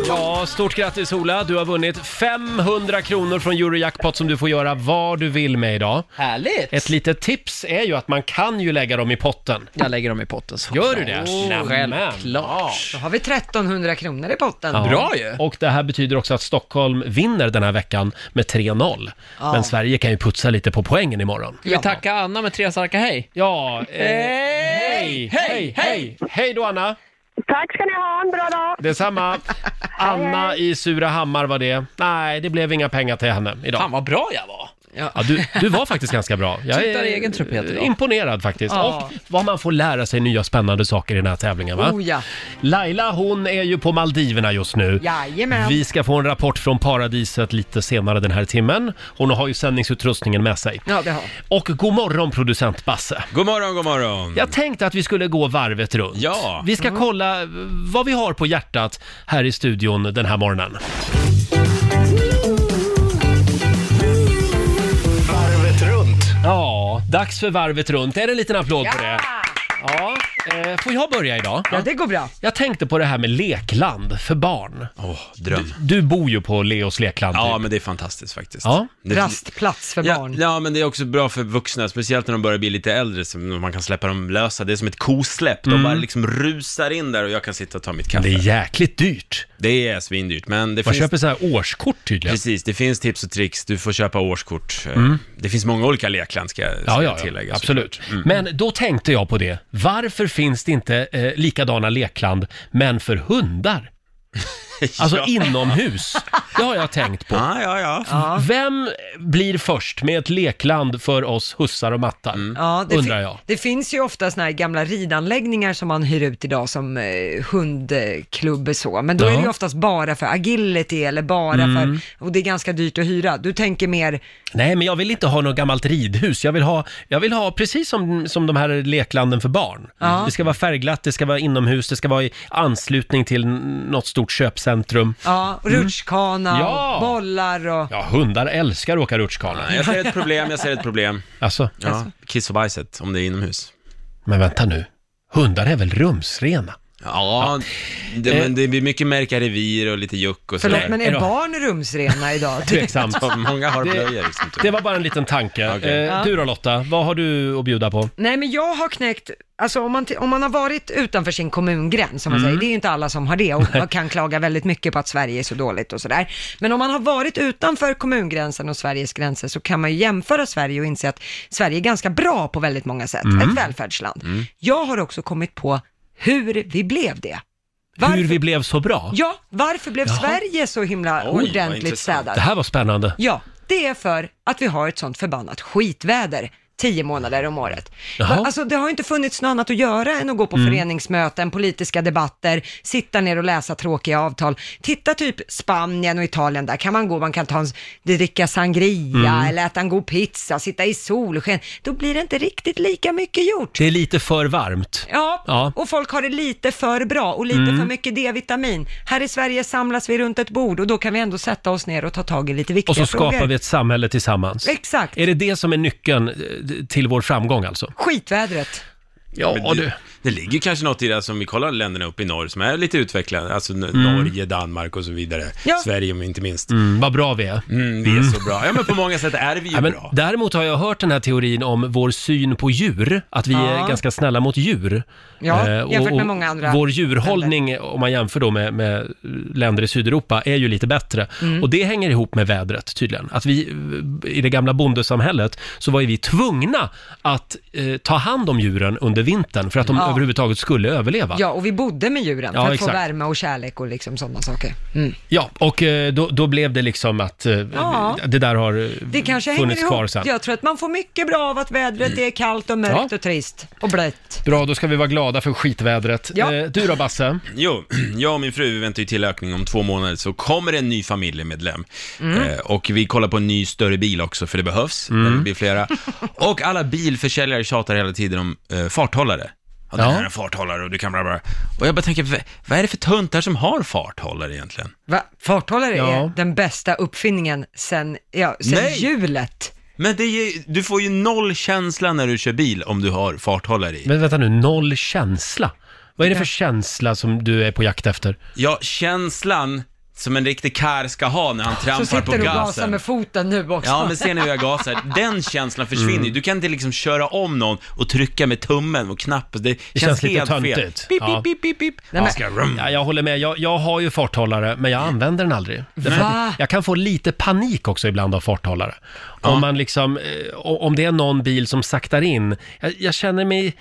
A: Ja, stort grattis Ola. Du har vunnit 500 kronor från Eurojackpot som du får göra vad du vill med idag.
J: Härligt!
A: Ett litet tips är ju att man kan ju lägga dem i potten.
J: Jag lägger dem i potten.
A: Gör du det?
J: Åh,
A: Nämen.
J: Självklart.
B: Då har vi 1300 kronor i potten.
A: Ja. Och det här betyder också att Stockholm vinner den här veckan med 3-0.
J: Ja.
A: Men Sverige kan ju putsa lite på poängen imorgon.
J: Ska vi tacka Anna med tre starka hej?
A: Ja. eh, hej, hej, hej! Hej då Anna!
K: Tack ska ni ha, en bra dag.
A: Detsamma. Anna i Surahammar var det. Nej, det blev inga pengar till henne idag.
J: Fan vad bra jag var.
A: Ja. du, du var faktiskt ganska bra. Jag
J: Tutar i egen trumpet
A: är
J: idag.
A: imponerad faktiskt.
J: Ja.
A: Och vad man får lära sig nya spännande saker i den här tävlingen va?
B: Oh, ja.
A: Laila hon är ju på Maldiverna just nu.
B: Jajamän.
A: Vi ska få en rapport från paradiset lite senare den här timmen. Hon har ju sändningsutrustningen med sig.
B: Ja, det har
A: Och god morgon producent Basse.
E: God morgon, god morgon.
A: Jag tänkte att vi skulle gå varvet runt.
E: Ja.
A: Vi ska
E: Mm.
A: kolla eh, vad vi har på hjärtat här i studion den här morgonen.
C: Varvet runt.
A: Ja, dags för varvet runt. Är det en liten applåd på det? Ja, Eh, Får jag börja idag?
B: Ja, det går bra.
A: Jag tänkte på det här med lekland för barn.
E: Åh, dröm.
A: Du, du bor ju på Leos lekland.
E: Ja, men det är fantastiskt faktiskt.
A: Ja.
E: Det-
B: Rastplats för barn.
E: Ja, men det är också bra för vuxna, speciellt när de börjar bli lite äldre, så man kan släppa dem lösa. Det är som ett kosläpp, de
A: Mm.
E: bara liksom rusar in där och jag kan sitta och ta mitt kaffe.
A: Det är jäkligt dyrt.
E: Det är svindyrt, men det
A: Man
E: finns...
A: köper så här årskort tydligen.
E: Precis, det finns tips och tricks. Du får köpa årskort. Eh,
A: Mm.
E: Det finns många olika lekland, ska jag ska
A: Ja,
E: jag
A: ja,
E: tillägga. Mm.
A: ja absolut. Men då tänkte jag på det. Varför finns det inte eh, likadana lekland, men för hundar?
E: [laughs]
A: Alltså
E: Ja.
A: inomhus. Det har jag tänkt på.
E: Ja, ja, ja.
A: Vem blir först med ett lekland för oss hussar och mattar?
E: Mm.
B: Ja, det,
A: undrar
B: fin-
A: jag.
B: det finns ju ofta såna här gamla ridanläggningar som man hyr ut idag som eh, hundklubb och så, men då är det ju
A: Ja.
B: oftast bara för agility eller bara
A: Mm.
B: för, och det är ganska dyrt att hyra. Du tänker mer,
A: Nej, men jag vill inte ha något gammalt ridhus. Jag vill ha, jag vill ha precis som, som de här leklanden för barn.
B: Ja.
A: Det ska vara färgglatt, det ska vara inomhus, det ska vara i anslutning till n- något stort köpcentrum.
B: ja,
A: Mm.
B: rutschkana,
A: Ja.
B: och bollar och...
A: Ja, hundar älskar att åka rutschkana.
E: Jag ser ett problem, jag ser ett problem.
A: Alltså?
E: Ja, kiss och bajset, om det är inomhus.
A: Men vänta nu, hundar är
E: [laughs]
A: väl rumsrena?
E: Ja, Det, men
A: Eh.
E: det blir mycket märka revir och lite juck och
B: Förlåt,
E: sådär. [laughs]
B: men är barn rumsrena
A: [laughs]
B: idag?
A: Tveksamt.
E: Många har
A: Det-
E: blöjor liksom. typ.
A: Det var bara en liten tanke.
E: Okej.
A: Eh, du då Lotta, vad har du att bjuda på?
B: Nej, men jag har knäckt, alltså om man, t- om man har varit utanför sin kommungräns, som man
A: Mm.
B: säger, det är ju inte alla som har det och man kan klaga väldigt mycket på att Sverige är så dåligt och sådär. Men om man har varit utanför kommungränsen och Sveriges gränser så kan man ju jämföra Sverige och inse att Sverige är ganska bra på väldigt många sätt,
A: Mm.
B: ett välfärdsland. Jag har också kommit på hur vi blev det.
A: Hur vi blev så bra?
B: Ja, varför blev
A: Jaha.
B: Sverige så himla
A: vad
B: ordentligt
A: intressant.
B: städat?
A: Det här var spännande.
B: Ja, det är för att vi har ett sånt förbannat skitväder tio månader om året.
A: Jaha.
B: Va- Alltså det har ju inte funnits något annat att göra än att gå på
A: Mm.
B: föreningsmöten, politiska debatter, sitta ner och läsa tråkiga avtal. Titta typ Spanien och Italien, där kan man gå, man kan ta en, s- dricka sangria
A: Mm.
B: eller äta en god pizza, sitta i solsken. Då blir det inte riktigt lika mycket gjort.
A: Det är lite för varmt.
B: Ja,
A: Ja.
B: och folk har det lite för bra och lite
A: Mm.
B: för mycket D-vitamin. Här i Sverige samlas vi runt ett bord och då kan vi ändå sätta oss ner och ta tag i lite viktiga
A: Och så
B: frågor.
A: skapar vi ett samhälle tillsammans.
B: Exakt.
A: Är det det som är nyckeln eh, till vår framgång alltså?
B: Skitvädret.
A: Ja,
E: Men det,
A: du.
E: det ligger kanske något i det som vi kollar länderna uppe i norr som är lite utvecklade, alltså n-
A: Mm.
E: Norge, Danmark och så vidare.
A: Ja.
E: Sverige om inte minst.
A: Mm, vad bra vi är.
E: Mm, vi är så bra. Ja men på många sätt är vi ju
A: Ja, men
E: bra.
A: däremot har jag hört den här teorin om vår syn på djur, att vi
B: Ja.
A: är ganska snälla mot djur.
B: Ja,
A: Eh,
B: jämfört med många andra
A: Vår djurhållning, om man jämför då med, med länder i Sydeuropa, är ju lite bättre.
B: Mm.
A: Och det hänger ihop med vädret tydligen. Att vi, eh, i det gamla bondesamhället, så var ju vi tvungna att eh, ta hand om djuren under vintern för att de
B: Ja.
A: överhuvudtaget skulle överleva.
B: Ja, och vi bodde med djuren
A: Ja,
B: för att få
A: exakt.
B: värme och kärlek och liksom sådana saker.
A: Ja, och eh, då, då blev det liksom att eh,
B: Ja.
A: det där har eh,
B: Det kanske hänger
A: funnits
B: ihop.
A: kvar sen.
B: Jag tror att man får mycket bra av att vädret är kallt och mörkt
A: Ja.
B: och trist och blött.
A: Bra, då ska vi vara glada för skitvädret.
B: Ja.
A: Eh, Du då Basse?
E: Jo, [clears throat] jag och min fru vi väntar ju till ökning om två månader så kommer en ny familjemedlem.
A: Mm.
E: Eh, och vi kollar på en ny större bil också för det behövs
A: Mm.
E: när vi blir flera. Och alla bilförsäljare tjatar hela tiden om eh, farthållare. Ja, den
A: Ja.
E: här är en farthållare och du kan bla bla. Och jag bara tänker, "Va- vad är det för töntar som har farthållare egentligen?
B: Va? Farthållare är
E: Ja.
B: den bästa uppfinningen sen, ja, sen
E: Nej.
B: hjulet.
E: Men det är, ju- du får ju noll känsla när du kör bil om du har farthållare i.
A: Men vänta nu, noll känsla? Vad är det för känsla som du är på jakt efter?
E: Ja, känslan som en riktig kar ska ha när han
B: Så
E: trampar på
B: sitter du och gasar
E: gasen.
B: med foten nu också.
E: Ja, men ser ni hur jag gasar? Den känslan försvinner ju.
A: Mm.
E: Du kan inte liksom köra om någon och trycka med tummen och knappen. Det,
A: Det känns,
E: känns
A: lite
E: helt
A: töntigt.
E: fel. Pip,
A: Ja.
E: pip, pip, pip, pip.
A: Ja.
E: Jag ska rum.
A: Ja, jag håller med. Jag, jag har ju farthållare, men jag använder den aldrig. Därför att
E: Va?
A: Jag kan få lite panik också ibland av farthållare. Om, man liksom, eh, o- om det är någon bil som saktar in. Jag, jag känner mig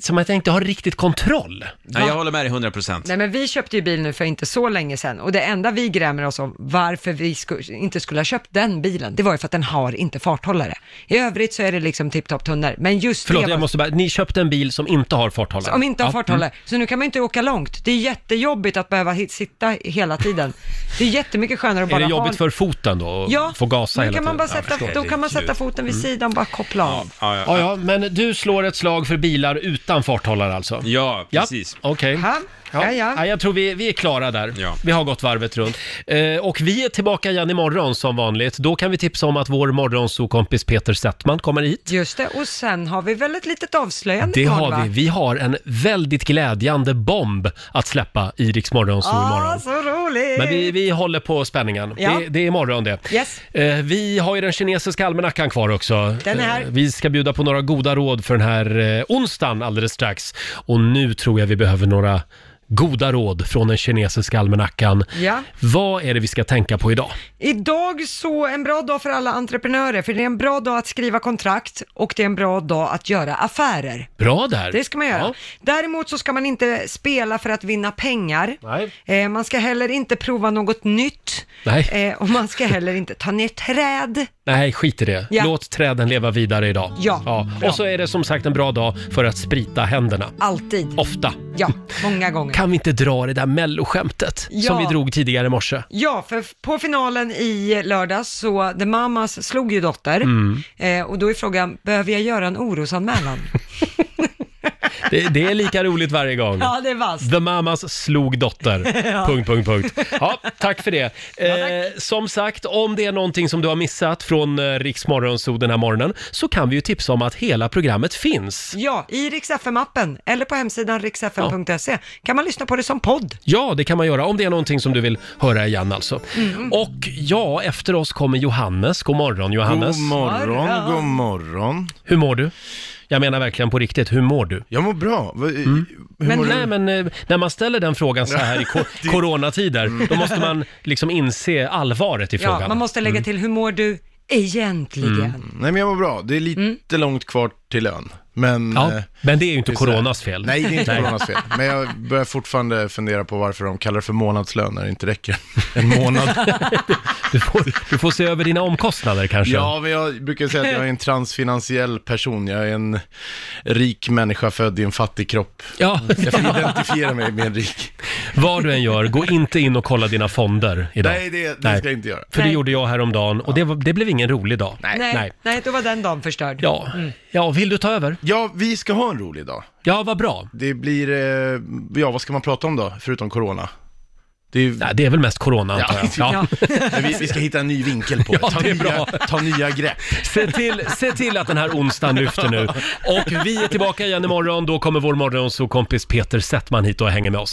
A: som att jag inte har riktigt kontroll.
E: Nej, jag håller med dig 100 procent.
B: Nej men vi köpte ju bil nu för inte så länge sedan och det enda vi grämer oss om varför vi sku- inte skulle ha köpt den bilen, det var ju för att den har inte farthållare. I övrigt så är det liksom tipptopp tunnor, men just
A: Förlåt,
B: det
A: jag
B: var-
A: måste bara, ni köpte en bil som inte har farthållare?
B: Om inte har
A: Ja,
B: farthållare.
A: mm.
B: Så nu kan man ju inte åka långt. Det är jättejobbigt att behöva hit, sitta hela tiden. Det är jättemycket skönare att bara
A: Är det
B: ha...
A: jobbigt för foten då? att
B: Ja,
A: få gasa
B: nu
A: hela
B: kan man
A: tiden?
B: bara
A: Ja, jag
B: sätta,
A: förstår.
B: Då kan man sätta foten vid
A: Mm.
B: sidan och bara koppla av.
E: Ja,
A: Ja, ja, men du slår ett slag för bilar utan farthållare alltså?
E: Ja, precis.
A: Okej. Ja. Ja, jag tror vi, vi är klara där. Vi har gått varvet runt. Eh, och vi är tillbaka igen imorgon som vanligt. Då kan vi tipsa om att vår morgonsokompis Peter Settman kommer hit.
B: Just det, och sen har vi väl ett litet avslöjande
A: Det
B: imorgon,
A: har
B: va?
A: vi. Vi har en väldigt glädjande bomb att släppa i Rix Morgonzoo imorgon.
B: Ah, så roligt!
A: Men vi, vi håller på spänningen.
B: Eh, Ja.
A: Det, det är imorgon det.
B: Yes.
A: Eh, vi har ju den kinesiska almanackan kvar också.
B: Den är här.
A: Eh, vi ska bjuda på några goda råd för den här eh, onsdagen alldeles strax. Och nu tror jag vi behöver några goda råd från den kinesiska almanackan.
B: Ja.
A: Vad är det vi ska tänka på idag?
B: Idag så en bra dag för alla entreprenörer, för det är en bra dag att skriva kontrakt och det är en bra dag att göra affärer.
A: Bra där!
B: Det ska man göra. Däremot så ska man inte spela för att vinna pengar. Eh, man ska heller inte prova något nytt.
A: Nej.
B: Eh, och man ska heller inte ta ner träd.
A: Nej, skit i det.
B: Ja.
A: Låt träden leva vidare idag.
B: Ja, bra.
A: Och så är det som sagt en bra dag för att sprita händerna.
B: Alltid.
A: Ofta.
B: Ja, många gånger.
A: Kan vi inte dra det där melloskämtet som
B: Ja.
A: vi drog tidigare i morse?
B: Ja, för på finalen i lördags så The Mamas slog ju Dotter.
A: Mm.
B: Eh, och då är frågan, behöver jag göra en
A: [laughs]
B: orosanmälan?
A: Det, det är lika roligt varje gång.
B: ja, det är vasst.
A: The Mamas slog Dotter.
B: [laughs] Ja.
A: Punkt, punkt, punkt. Ja, tack för det. Eh, som sagt, om det är någonting som du har missat från eh, Riks Morgonzoo den här morgonen så kan vi ju tipsa om att hela programmet finns.
B: Ja, i riksfm-appen eller på hemsidan riksfm.se kan man lyssna på det som podd.
A: Ja, det kan man göra om det är någonting som du vill höra igen alltså.
B: Mm.
A: Och ja, efter oss kommer Johannes. God morgon Johannes.
L: God morgon, god morgon.
A: Hur mår du? Jag menar verkligen på riktigt, hur mår du? Mm.
L: Jag mår bra. hur
A: men,
L: mår du?
A: nej, men eh, när man ställer den frågan så här
L: [laughs]
A: i ko- coronatider,
L: Mm.
A: då måste man liksom inse allvaret i frågan.
B: Ja, man måste lägga
A: Mm.
B: till, hur mår du egentligen?
L: Nej men jag mår bra. Det är lite långt kvar till ön. Men,
A: Ja,
L: eh,
A: men det är ju inte
L: det så här-
A: coronas fel.
L: Nej, det är inte
A: Nej.
L: coronas fel. Men jag börjar fortfarande fundera på varför de kallar det för månadslön när det inte räcker en månad.
A: [laughs] Du får, du får se över dina omkostnader
L: [laughs]
A: kanske.
L: Ja, men jag brukar säga att jag är en transfinansiell person. Jag är en rik människa född i en fattig kropp.
A: Ja.
L: Jag får identifiera mig med en rik.
A: Vad du än gör, gå inte in och kolla dina fonder idag.
L: Nej, det- det ska jag inte göra.
A: För det
L: Nej.
A: gjorde jag häromdagen och det, var, det blev ingen rolig dag.
B: Nej, Mm. nej. då var den dagen förstörd.
A: Ja. ja, vill du ta över?
L: Ja, vi ska ha en rolig dag.
A: Ja, vad bra.
L: Det blir, eh, ja vad ska man prata om då, förutom corona? Det är,
A: Nej, det är väl mest corona antar jag. Ja.
L: Men vi, vi ska hitta en ny vinkel [laughs] på det.
A: Ja,
L: Ta,
A: det är
L: nya,
A: bra.
L: ta nya grepp.
A: Se till, se till att den här onsdagen lyfter nu. Och vi är tillbaka igen imorgon. Då kommer vår morgonsokompis Peter Settman hit och hänger med oss.